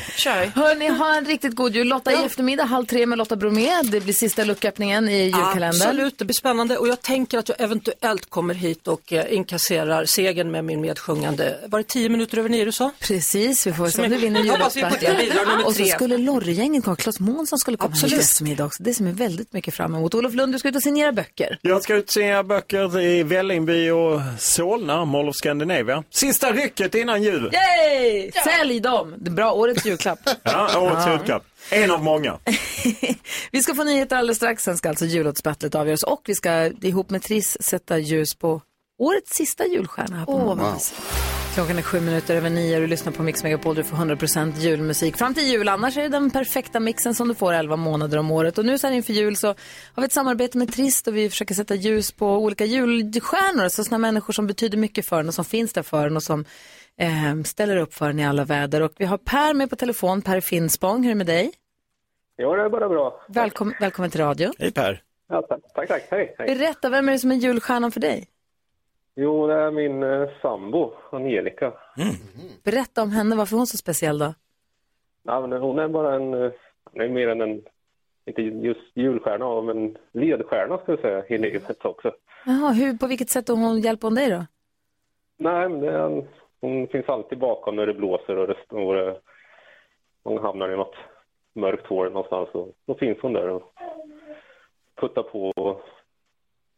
Speaker 2: Hörni, ha en riktigt god jul. Lotta i eftermiddag, halv tre med Lotta Bromé. Det blir sista lucköppningen i julkalendern.
Speaker 4: Absolut, det blir spännande och jag tänker att jag eventuellt kommer hit och eh, inkasserar segern med min medsjungande. Var det tio minuter över nio du sa?
Speaker 2: Precis, vi får se
Speaker 4: Som
Speaker 2: om du
Speaker 4: jag-
Speaker 2: vinner
Speaker 4: Hoppas vi på det. Bidrag nummer
Speaker 2: julafton. Och så
Speaker 4: tre.
Speaker 2: skulle Lorry-gänget komma, Claes Månsson skulle komma hit i
Speaker 13: Absolut.
Speaker 2: eftermiddag också. Det ser vi väldigt mycket fram emot. Olof Lund, du ska ut och signera böcker.
Speaker 13: Jag ska utse böcker i Vällingby och Solna, Mall of Scandinavia. Sista rycket innan jul.
Speaker 2: Yay! Sälj dem! Det är bra, årets julklapp.
Speaker 13: Ja, årets
Speaker 2: Ja.
Speaker 13: julklapp. En av många.
Speaker 2: Vi ska få nyheter alldeles strax, sen ska alltså jullåtsbattlet avgöras och vi ska ihop med Triss sätta ljus på årets sista julstjärna här på
Speaker 10: Åh,
Speaker 2: oh,
Speaker 10: vad
Speaker 2: mysigt. Klockan är sju minuter över nio och du lyssnar på Mix Megapol där du får 100% julmusik fram till jul. Annars är det den perfekta mixen som du får 11 månader om året. Och nu så här inför jul så har vi ett samarbete med Trist och vi försöker sätta ljus på olika julstjärnor. Alltså sådana människor som betyder mycket för en och som finns där för en och som eh, ställer upp för en i alla väder. Och vi har Per med på telefon, Per Finspång. Hur är det med dig?
Speaker 14: Ja, det är bara bra.
Speaker 2: Välkom välkommen till radion.
Speaker 13: Hej Per.
Speaker 14: Ja, tack, tack, tack. Hej, hej.
Speaker 2: Berätta, vem är det som är julstjärnan för dig?
Speaker 14: Jo, det är min eh, sambo, Angelica.
Speaker 2: Berätta om henne, varför är hon så speciell då?
Speaker 14: Ja, men hon är bara en, eh, hon är mer än en, inte just julstjärna, men ledstjärna ska jag säga i livet också.
Speaker 2: Jaha, hur, på vilket sätt hon hjälper hon dig då?
Speaker 14: Nej, men det är en, hon finns alltid bakom när det blåser och det står, eh, hon hamnar i något mörkt hål någonstans och då finns hon där och puttar på och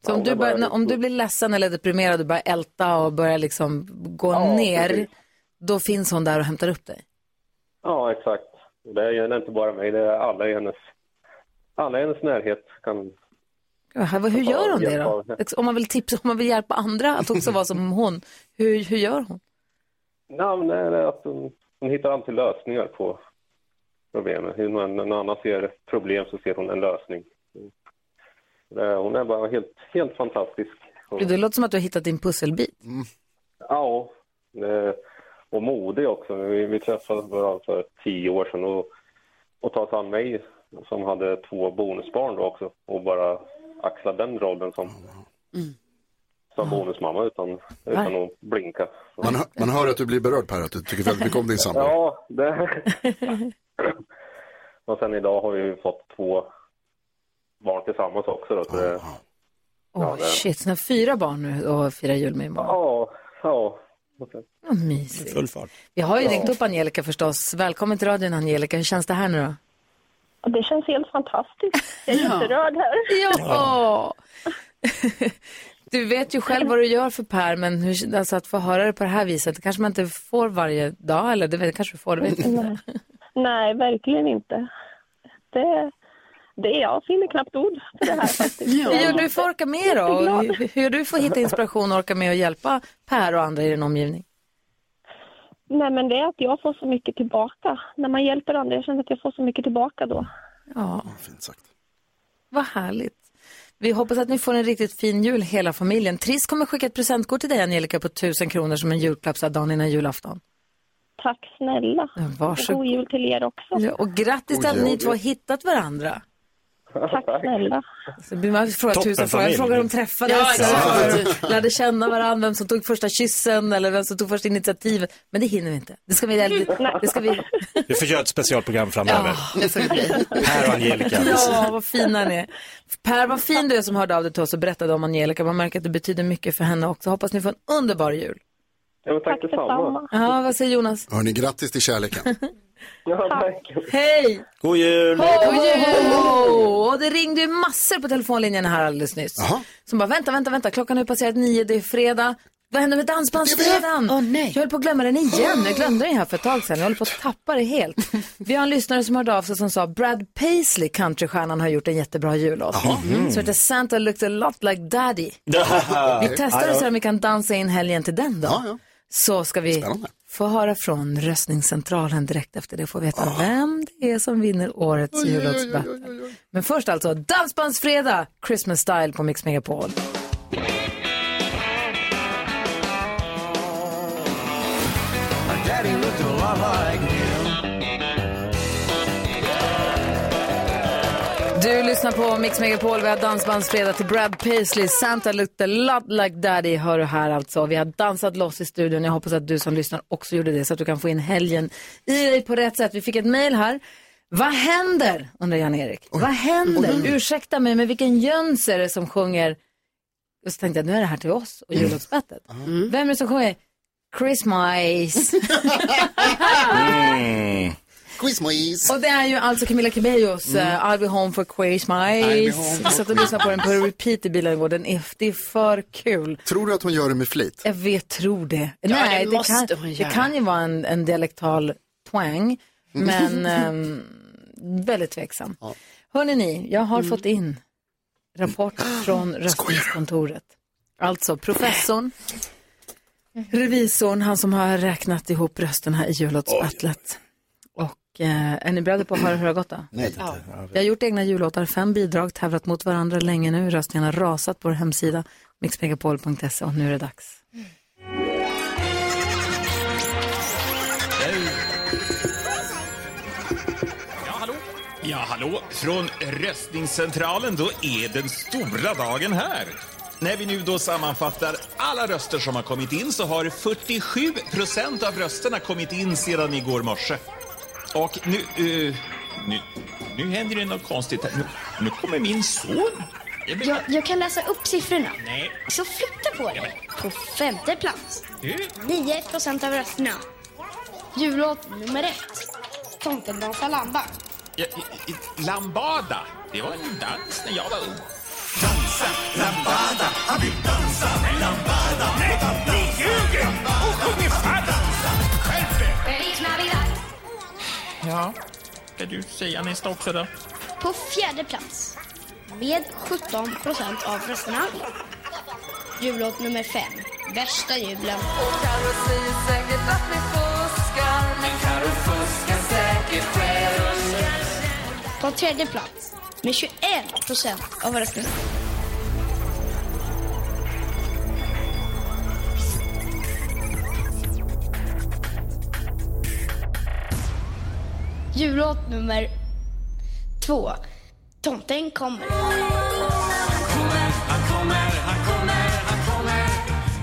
Speaker 2: Så om,
Speaker 14: hon
Speaker 2: du
Speaker 14: är bara
Speaker 2: bör, när-
Speaker 14: en-
Speaker 2: om du blir ledsen eller deprimerad och börjar älta och börjar liksom gå ner,
Speaker 14: precis.
Speaker 2: då finns hon där och hämtar upp dig.
Speaker 14: Ja, exakt. Och Det gäller inte bara mig, det är alla i hennes, alla i hennes närhet kan...
Speaker 2: Gud, här, vad- Hur
Speaker 14: Ja,
Speaker 2: gör hon det
Speaker 14: hjälp
Speaker 2: då?
Speaker 14: av henne.
Speaker 2: Ex- Om man vill tipsa, om man vill hjälpa andra att också vara som hon, hur, hur gör hon?
Speaker 14: Ja, men det är att hon, hon hittar alltid lösningar på problemen. Hur någon, någon annan ser problem så ser hon en lösning. Det är- Hon är bara helt, helt fantastisk. Hon,
Speaker 2: Gud, Det låter som att du har hittat din pusselbit.
Speaker 14: ja, det- och modig också. Vi, vi träffades bara för tio år sedan och, och ta sig an mig som hade två bonusbarn då också och bara axla den rollen som, som bonusmamma utan, utan att blinka.
Speaker 9: Man, hör- man hör att du blir berörd Per, att du tycker väldigt mycket om din sambo.
Speaker 14: Ja, det... Och sen idag har vi ju fått två barn tillsammans också. Då, så eh, det...
Speaker 2: Åh
Speaker 14: Ja, det-
Speaker 2: shit, så ni har fyra barn nu och firar jul med imorgon.
Speaker 14: Ja, ja.
Speaker 2: Vad mysigt.
Speaker 14: Full fart.
Speaker 2: Vi har ju
Speaker 14: Ja.
Speaker 2: ringt upp Angelica förstås. Välkommen till radion Angelica, hur känns det här nu då?
Speaker 8: Det känns helt fantastiskt. Jag är jätterörd här.
Speaker 2: Ja! Du vet ju själv vad du gör för Per, men hur, alltså att få höra det på det här viset, det kanske man inte får varje dag, eller det vet- kanske du får, det vet jag inte.
Speaker 8: Nej, verkligen inte. Det, det är jag finner knappt ord för det här faktiskt.
Speaker 2: Hur gör du för att orka med då? Och hur- Hur gör du för att hitta inspiration och orka med och hjälpa Per och andra i din omgivning?
Speaker 8: Nej, men det är att jag får så mycket tillbaka. När man hjälper andra, jag känner att jag får så mycket tillbaka då.
Speaker 2: Ja, fint sagt. vad härligt. Vi hoppas att ni får en riktigt fin jul, hela familjen. Triss kommer skicka ett presentkort till dig, Angelica, på 1000 kronor som en julklapp så här dagen innan julafton.
Speaker 8: Tack snälla.
Speaker 2: Varsågod.
Speaker 8: Och God jul till er också.
Speaker 2: Ja, och grattis till att ni två har hittat varandra.
Speaker 8: Tack snälla.
Speaker 2: Så blir man frågar
Speaker 8: Toppen
Speaker 2: tusen frågor. Jag
Speaker 8: familj.
Speaker 2: frågar om de träffades,
Speaker 8: Ja,
Speaker 2: jag
Speaker 8: exakt.
Speaker 2: frågar, lärde känna varandra, vem som tog första kyssen eller vem som tog första initiativet. Men det hinner vi inte. Det ska vi... Det ska vi
Speaker 3: Vi får göra ett specialprogram framöver.
Speaker 2: det får det bli.
Speaker 3: Här och Angelica.
Speaker 2: Ja, vad fina ni är. Per, vad fin du är som hörde av dig till oss och berättade om Angelica. Man märker att det betyder mycket för henne också. Hoppas ni får en underbar jul.
Speaker 14: Ja, men tack, tack detsamma.
Speaker 2: Ja, vad säger Jonas?
Speaker 9: Hörni, grattis till kärleken.
Speaker 14: Ja, tack.
Speaker 2: Hej!
Speaker 3: God jul!
Speaker 2: God jul! Och det ringde ju massor på telefonlinjen här alldeles nyss. Som bara, vänta, vänta, vänta, klockan har ju passerat nio, det är fredag. Vad händer med dansbandsfredagen? Oh, nej. Jag höll på att glömma den igen. Jag glömde den här för ett tag sedan. Jag håller på att tappa det helt. Vi har en lyssnare som hörde av sig som sa Brad Paisley, countrystjärnan, har gjort en jättebra jullåt.
Speaker 6: Jaha. Mm.
Speaker 2: Som heter Santa looked a lot like daddy. Vi testar och ser om vi kan dansa in helgen till den då. Så ska vi få höra från röstningscentralen direkt efter det. Får veta vem det är som vinner årets jullåtsbattle. Men först alltså Dansbandsfredag, Christmas Style på Mix Megapol.
Speaker 6: My daddy looked a lot like him.
Speaker 2: Du lyssnar på Mix Megapol. Vi har Dansbandsfredag till Brad Paisley. Santa looked a lot like daddy hör du här alltså. Vi har dansat loss i studion. Jag hoppas att du som lyssnar också gjorde det så att du kan få in helgen i dig på rätt sätt. Vi fick ett mejl här. Vad händer? undrar Jan-Erik. Vad händer? Ursäkta mig, men vilken jöns är det som sjunger? Och så tänkte jag, nu är det här till oss och jullåtsbettet. Vem är det som sjunger? Christmas.
Speaker 13: Mm.
Speaker 9: Quizmoise.
Speaker 2: Och det är ju alltså Camilla Cabellos
Speaker 9: Mm.
Speaker 2: eh, I'll be home for
Speaker 9: I'll be
Speaker 2: Quizmice.
Speaker 9: home
Speaker 2: Jag satt och lyssnade på den på repeat i bilen igår. Den är, det är för kul.
Speaker 9: Tror du att hon gör det med flit?
Speaker 2: Jag vet, tror det.
Speaker 9: Ja,
Speaker 2: Nej,
Speaker 9: det
Speaker 2: det,
Speaker 9: måste
Speaker 2: kan,
Speaker 9: hon
Speaker 2: det
Speaker 9: göra.
Speaker 2: kan ju vara en, en dialektal twang,
Speaker 9: Mm.
Speaker 2: men ehm, väldigt tveksam. Hörrni ni, jag
Speaker 9: Mm.
Speaker 2: har fått in rapport från röstningskontoret. Alltså professorn,
Speaker 9: Mm.
Speaker 2: revisorn, han som har räknat ihop rösterna i jullåtsbattlet. Och eh, är ni beredda på att höra hur det har gått då?
Speaker 6: Nej, ja.
Speaker 2: Jag har gjort egna jullåtar, fem bidrag, tävlat mot varandra länge nu. Röstningarna har rasat på vår hemsida mixmegapol.se och nu är det dags.
Speaker 12: Ja, hallå? Ja, hallå? Från röstningscentralen, då är den stora dagen här. När vi nu då sammanfattar alla röster som har kommit in så har 47 procent av rösterna kommit in sedan igår morse. Och nu... eh, nu, nu händer det något konstigt här. Nu, nu kommer min son. Jag blir-
Speaker 23: Jag, jag kan läsa upp siffrorna.
Speaker 12: Nej.
Speaker 23: Så flytta på dig. På femte plats,
Speaker 12: Du?
Speaker 23: 9 procent av rösterna. Jullåt nummer ett, Tomten dansar lamba.
Speaker 12: Ja, i- i- eh, Lambada, det var en dans när jag var ung.
Speaker 6: Lambada, han vill dansa lambada. Nej, ni ljuger! Och sjung i fatt!
Speaker 12: Ja. Ska du säga nästa också då?
Speaker 23: På fjärde plats, med 17 procent av rösterna, jullåt nummer fem, Värsta julen. På tredje plats, med 21 procent av rösterna, Jullåt nummer två. Tomten kommer.
Speaker 6: Han kommer, han kommer, han kommer.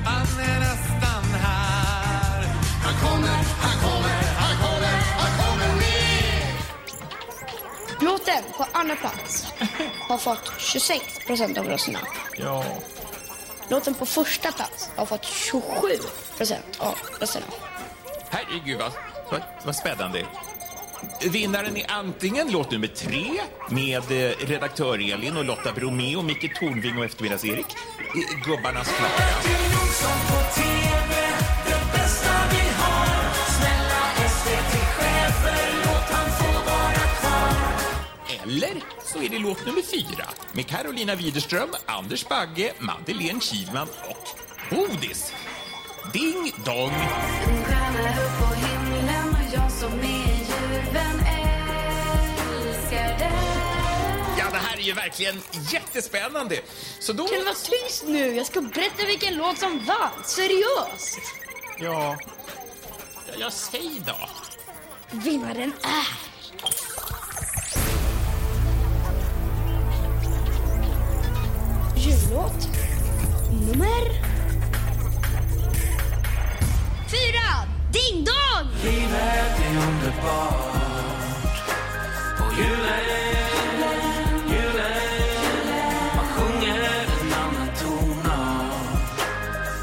Speaker 6: Han är nästan här. Han kommer, han kommer, han kommer, han kommer ner.
Speaker 23: Låten på andra plats har fått 26 procent av rösterna.
Speaker 12: Ja.
Speaker 23: Låten på första plats har fått 27 procent av rösterna.
Speaker 12: Herregud, vad, vad, vad spännande. Vinnaren är antingen låt nummer tre med eh, redaktör Elin och Lotta Bromé och Micke Tornving och eftermiddags-Erik. Eh, Gubbarnas klocka. Eller så är det låt nummer fyra med Carolina Widerström, Anders Bagge, Madeleine Kihlman och Bodis. Ding dong!
Speaker 10: Stjärna upp på himlen och jag som är djurvän älskar dig
Speaker 12: Ja, det här är ju verkligen jättespännande. Så då...
Speaker 23: Kan du vara tyst nu? Jag ska berätta vilken låt som vann. Seriöst!
Speaker 12: Ja. Ja, jag säger då.
Speaker 23: Vinnaren är... jullåt nummer... Fyra! Ding dong!
Speaker 6: Livet är underbart Och julen, julen Man sjunger en annan tonart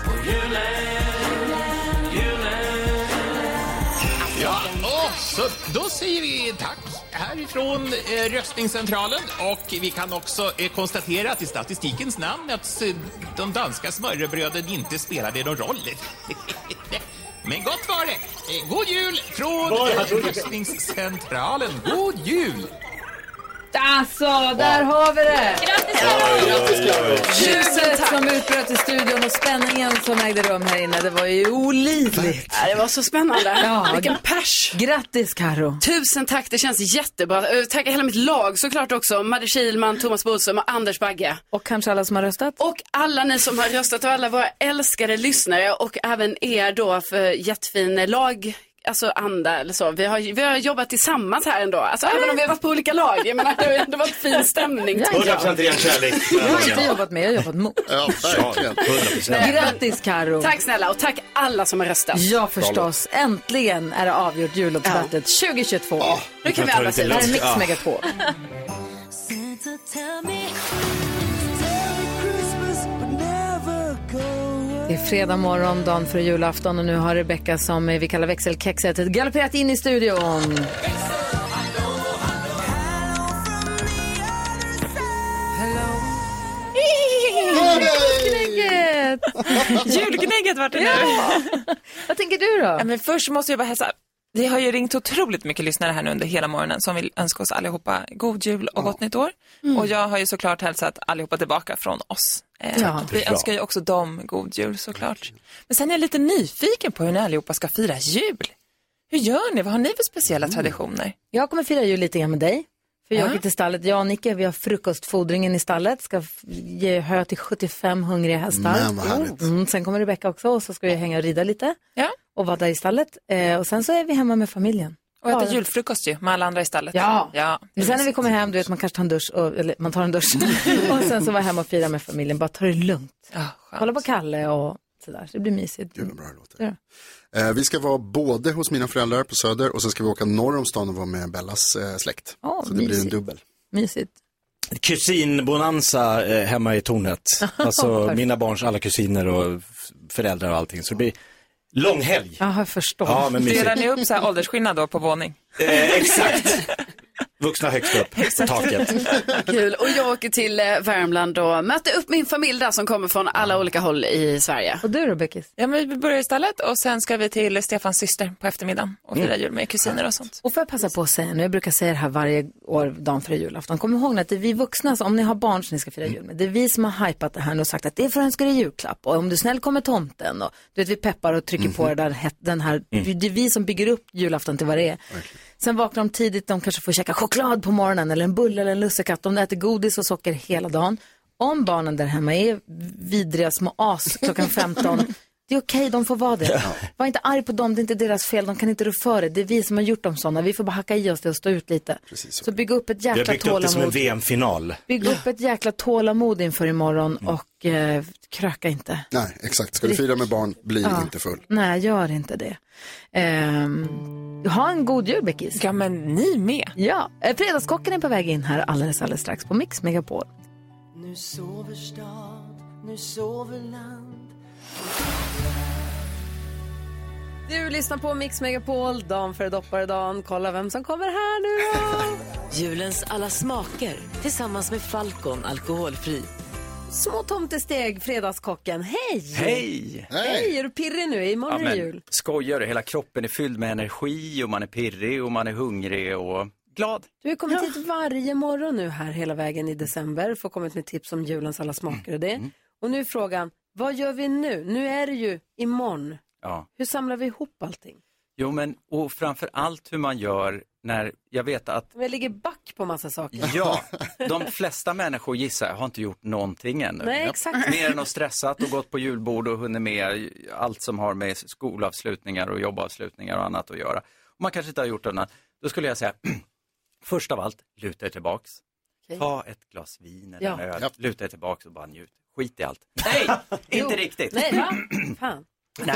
Speaker 6: På julen, julen
Speaker 12: Ja, och så då säger vi tack härifrån eh, röstningscentralen och vi kan också eh, konstatera att i statistikens namn att eh, de danska smörrebröden inte spelade någon roll. Men gott var det! Eh, God jul från
Speaker 6: Var det?
Speaker 12: eh, röstningscentralen. God jul!
Speaker 2: Alltså, där har vi det!
Speaker 10: Tusen
Speaker 2: Ljudet
Speaker 10: tack.
Speaker 2: som utbröt i studion och spänningen som ägde rum här inne, det var ju olidligt.
Speaker 10: Ja, Äh, det var så spännande.
Speaker 2: Ja.
Speaker 10: Vilken pers.
Speaker 2: Grattis Karo.
Speaker 10: Tusen tack, det känns jättebra. Eh, Tack hela mitt lag såklart också. Madde Kihlman, Thomas Bodström och Anders Bagge.
Speaker 2: Och kanske alla som har röstat.
Speaker 10: Och alla ni som har röstat och alla våra älskade lyssnare och även er då för jättefin lag. Alltså anda eller så. Vi har, vi har jobbat tillsammans här ändå. Alltså även om vi har varit på olika lag. Jag menar, det har ju ändå varit fin stämning. tycker jag.
Speaker 3: 100% ren kärlek.
Speaker 2: Jag har inte jobbat med, jag har jobbat mot.
Speaker 9: Ja, verkligen.
Speaker 3: 100%.
Speaker 2: Grattis Karo.
Speaker 10: Tack snälla och tack alla som har röstat.
Speaker 2: Ja, förstås. Äntligen är det avgjort jullåtsbattet 2022.
Speaker 10: Nu kan vi
Speaker 2: Det
Speaker 10: andas ut.
Speaker 2: här är Mix
Speaker 10: Ja.
Speaker 2: Megapol.
Speaker 6: Santa, tell me Merry Christmas, but never go
Speaker 2: Det är fredag morgon, dagen före julafton och nu har Rebecca som vi kallar växelkexet galopperat in i studion. Julgnägget!
Speaker 24: Julgnägget vart det nu.
Speaker 2: Vad tänker du då?
Speaker 24: Ja, men först måste jag bara hälsa. Vi har ju ringt otroligt mycket lyssnare här nu under hela morgonen som vill önska oss allihopa god jul och gott nytt år.
Speaker 2: Mm.
Speaker 24: Och jag har ju såklart hälsat allihopa tillbaka från oss. Eh,
Speaker 2: Ja.
Speaker 24: Vi
Speaker 2: Bra.
Speaker 24: önskar ju också dem god jul såklart. Men sen är jag lite nyfiken på hur ni allihopa ska fira jul. Hur gör ni? Vad har ni för
Speaker 2: Mm.
Speaker 24: speciella traditioner?
Speaker 2: Jag kommer fira jul lite grann med dig. För jag
Speaker 24: Ja.
Speaker 2: åker till stallet, jag och Nicke, vi har frukostfodringen i stallet. Ska f- ge hö till 75 hungriga hästar.
Speaker 9: Men vad härligt.
Speaker 2: Mm, sen kommer Rebecca också och så ska vi hänga och rida lite. Och vara där i stallet. Eh, och sen så är vi hemma med familjen.
Speaker 24: Och äta
Speaker 2: Ja.
Speaker 24: julfrukost ju, med alla andra i stallet.
Speaker 2: Ja.
Speaker 24: ja.
Speaker 2: Men sen när vi kommer hem, du vet man kanske tar en dusch, och, eller man tar en dusch. och sen så vara hemma och fira med familjen, bara ta det lugnt. Kolla på Kalle och sådär, så det blir mysigt. Gud
Speaker 9: vad bra det
Speaker 2: låter. Ja.
Speaker 9: Eh, Vi ska vara både hos mina föräldrar på Söder och sen ska vi åka norr om stan och vara med Bellas eh, släkt.
Speaker 2: Ja,
Speaker 9: så det blir en
Speaker 2: mysigt.
Speaker 9: dubbel.
Speaker 2: Mysigt.
Speaker 3: Kusinbonanza eh, hemma i tornet. Alltså
Speaker 2: Perfekt.
Speaker 3: mina barns alla kusiner och f- föräldrar och allting. Så det blir lång helg.
Speaker 2: Ja, jag förstår.
Speaker 3: Ja, men mysigt.
Speaker 24: Delar ni upp så här åldersskillnad då på våning?
Speaker 3: Eh, exakt. Vuxna högst upp, taket.
Speaker 10: Kul. Och jag åker till eh, Värmland och möter upp min familj där som kommer från alla olika håll i Sverige.
Speaker 2: Och du då, Beckis?
Speaker 24: Ja, men vi börjar istället och sen ska vi till Stefans syster på eftermiddagen och fira
Speaker 2: Mm.
Speaker 24: jul med kusiner och sånt.
Speaker 2: Och får jag passa på att säga nu, jag brukar säga det här varje år, dagen före julafton. Kom ihåg nu att det är vi vuxna, så om ni har barn som ni ska fira jul med, det är vi som har hypat det här nu och sagt att det är för att önska dig julklapp och om du är snäll kommer tomten och du vet vi peppar och trycker på det där, het- den här, det är vi som bygger upp julafton till vad det är. Sen vaknar de tidigt, de kanske får käka choklad på morgonen eller en bulle eller en lussekatt, de äter godis och socker hela dagen. Om barnen där hemma är vidriga små as klockan 15, det är okej, de får vara det. Var inte arg på dem, det är inte deras fel, de kan inte rå för det. Det är vi som har gjort dem sådana, vi får bara hacka i oss det och stå ut lite. så. bygg upp ett
Speaker 3: Vi har
Speaker 2: jäkla
Speaker 3: byggt upp det som en
Speaker 2: tålamod.
Speaker 3: VM-final.
Speaker 2: Bygg upp ett jäkla tålamod inför imorgon
Speaker 3: Mm.
Speaker 2: och eh, kröka inte.
Speaker 9: Nej, exakt. Ska du fira med barn, bli
Speaker 2: Ja.
Speaker 9: inte full.
Speaker 2: Nej, gör inte det. Ehm, ha en god jul, Beckis.
Speaker 24: Ja, men ni med.
Speaker 2: Ja, eh, Fredagskocken är på väg in här alldeles, alldeles strax på Mix Megapol.
Speaker 6: Nu sover stad, nu sover land
Speaker 2: Du lyssnar på Mix Megapol, dagen före dopparedagen. Kolla vem som kommer här nu då.
Speaker 25: Julens alla smaker tillsammans med Falcon alkoholfri.
Speaker 2: Små tomtesteg, Fredagskocken. Hej!
Speaker 26: Hej!
Speaker 2: Hej, är du pirrig nu? Imorgon är det jul.
Speaker 26: skojar du? Hela kroppen är fylld med energi och man är pirrig och man är hungrig och glad.
Speaker 2: Du har kommit hit varje morgon nu här hela vägen i december för att komma med tips om julens alla smaker och det.
Speaker 26: Mm.
Speaker 2: Och nu är frågan, vad gör vi nu? Nu är det ju imorgon.
Speaker 26: Ja.
Speaker 2: Hur samlar vi ihop allting?
Speaker 26: Jo, men och framför allt hur man gör när jag vet att
Speaker 2: Men Jag ligger back på massa saker.
Speaker 26: Ja, de flesta människor gissar jag har inte gjort någonting ännu.
Speaker 2: Nej, exakt.
Speaker 26: Mer än att stressat och gått på julbord och hunnit med allt som har med skolavslutningar och jobbavslutningar och annat att göra. Om man kanske inte har gjort det innan, då skulle jag säga, först av allt, luta er tillbaks.
Speaker 2: Okej.
Speaker 26: Ta ett glas vin eller
Speaker 2: Ja.
Speaker 26: en öl,
Speaker 2: Ja.
Speaker 26: luta dig tillbaka och bara njut. Skit i allt. Nej, inte riktigt.
Speaker 2: Nej, va? Fan.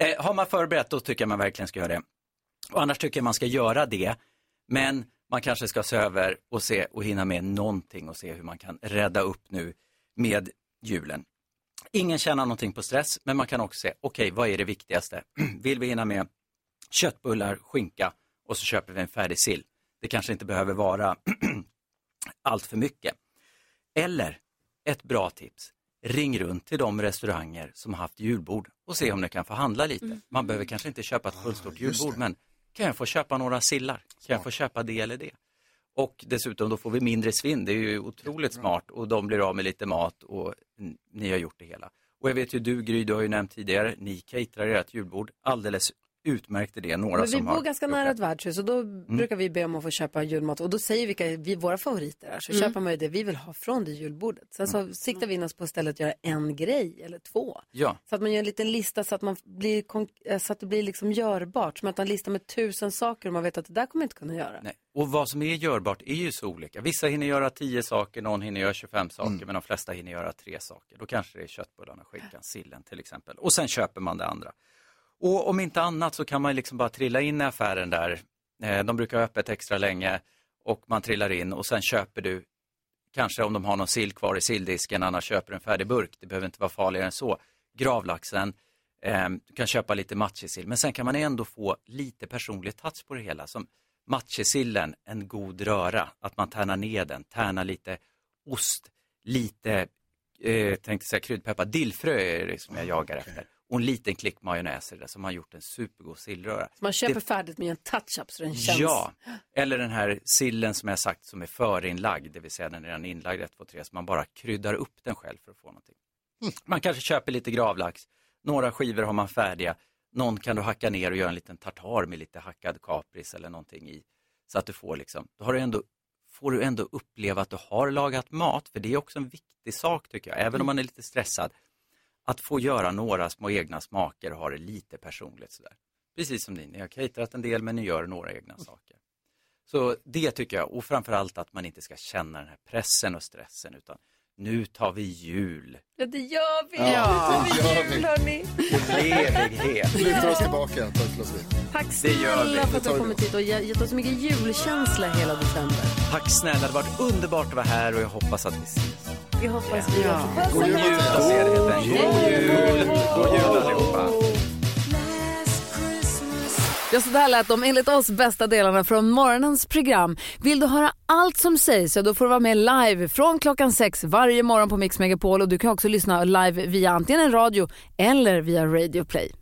Speaker 26: Eh, har man förberett då tycker jag man verkligen ska göra det. Och annars tycker jag man ska göra det, men man kanske ska se över och se och hinna med någonting och se hur man kan rädda upp nu med julen. Ingen tjänar någonting på stress, men man kan också se, okej, vad är det viktigaste? Vill vi hinna med köttbullar, skinka och så köper vi en färdig sill. Det kanske inte behöver vara allt för mycket. Eller ett bra tips. Ring runt till de restauranger som har haft julbord och se om ni kan få handla lite. Man behöver kanske inte köpa ett fullstort julbord men kan jag få köpa några sillar? Kan jag få köpa det eller det? Och dessutom då får vi mindre svinn, det är ju otroligt smart och de blir av med lite mat och n- ni har gjort det hela. Och jag vet ju du Gry, du har ju nämnt tidigare, ni caterar ert julbord alldeles utmärkt i det. Några
Speaker 2: Men vi
Speaker 26: som
Speaker 2: bor
Speaker 26: har... Mm.
Speaker 2: ganska nära ett värdshus och då brukar vi be om att få köpa julmat och då säger vi vilka vi, våra favoriter är. Så
Speaker 16: Mm.
Speaker 2: köper man ju det vi vill ha från det julbordet. Sen
Speaker 26: Mm.
Speaker 2: så siktar vi in oss på istället att göra en grej eller två.
Speaker 26: Ja.
Speaker 2: Så att man gör en liten lista så att, man blir, konk- eh, så att det blir liksom görbart. Som att man listar med tusen saker och man vet att det där kommer jag inte kunna göra.
Speaker 26: Nej. Och vad som är görbart är ju så olika. Vissa hinner göra 10 saker, någon hinner göra 25 saker, men de flesta hinner göra tre saker. Då kanske det är köttbullarna, skinkan, sillen till exempel. Och sen köper man det andra. Och om inte annat så kan man liksom bara trilla in i affären där. Eh, De brukar ha öppet extra länge och man trillar in och sen köper du kanske om de har någon sill kvar i silldisken, annars köper du en färdig burk. Det behöver inte vara farligare än så. Gravlaxen, eh, du kan köpa lite matjessill, men sen kan man ändå få lite personlig touch på det hela. Som matjessillen, en god röra, att man tärnar ner den, tärnar lite ost, lite, eh, tänkte säga kryddpeppar, dillfrö är det som jag jagar efter. Och en liten klick majonnäs i det som har gjort en supergod sillröra.
Speaker 2: Så man köper
Speaker 26: Det-
Speaker 2: färdigt med en touch-up så den känns.
Speaker 26: Ja, eller den här sillen som jag sagt som är förinlagd, det vill säga den är redan inlagd 1, 2, 3, så man bara kryddar upp den själv för att få någonting.
Speaker 2: Mm.
Speaker 26: Man kanske köper lite gravlax, några skivor har man färdiga, någon kan du hacka ner och göra en liten tartar med lite hackad kapris eller någonting i. Så att du får liksom, då har du ändå, får du ändå uppleva att du har lagat mat, för det är också en viktig sak tycker jag,
Speaker 2: Mm.
Speaker 26: även om man är lite stressad. Att få göra några små egna smaker och ha det lite personligt sådär. Precis som ni, ni har caterat en del men ni gör några egna saker. Så det tycker jag, och framförallt att man inte ska känna den här pressen och stressen utan nu tar vi jul,
Speaker 2: Ja, det gör vi.
Speaker 26: Ja,
Speaker 2: det
Speaker 26: det gör
Speaker 2: gör vi. Hörni.
Speaker 26: levighet.
Speaker 9: Luta oss tillbaka, ta ett glas vin.
Speaker 2: Tack
Speaker 26: Det gör vi.
Speaker 2: snälla för att du har kommit hit och ge- gett oss så mycket julkänsla hela december.
Speaker 26: Tack snälla, det har varit underbart att vara här och jag hoppas att vi ses.
Speaker 2: Vi hoppas vi
Speaker 26: Ja.
Speaker 2: också. Puss och
Speaker 26: God jul
Speaker 2: kram.
Speaker 26: och se er helt enkelt. God jul! God jul allihopa!
Speaker 2: Ja, så där lät de enligt oss bästa delarna från morgonens program. Vill du höra allt som sägs så då får du vara med live från klockan sex varje morgon på Mix Megapol och du kan också lyssna live via antingen en radio eller via Radio Play.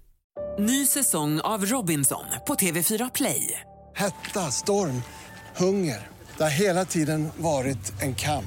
Speaker 18: Ny säsong av Robinson på TV4 Play.
Speaker 27: Hetta, storm, hunger. Det har hela tiden varit en kamp.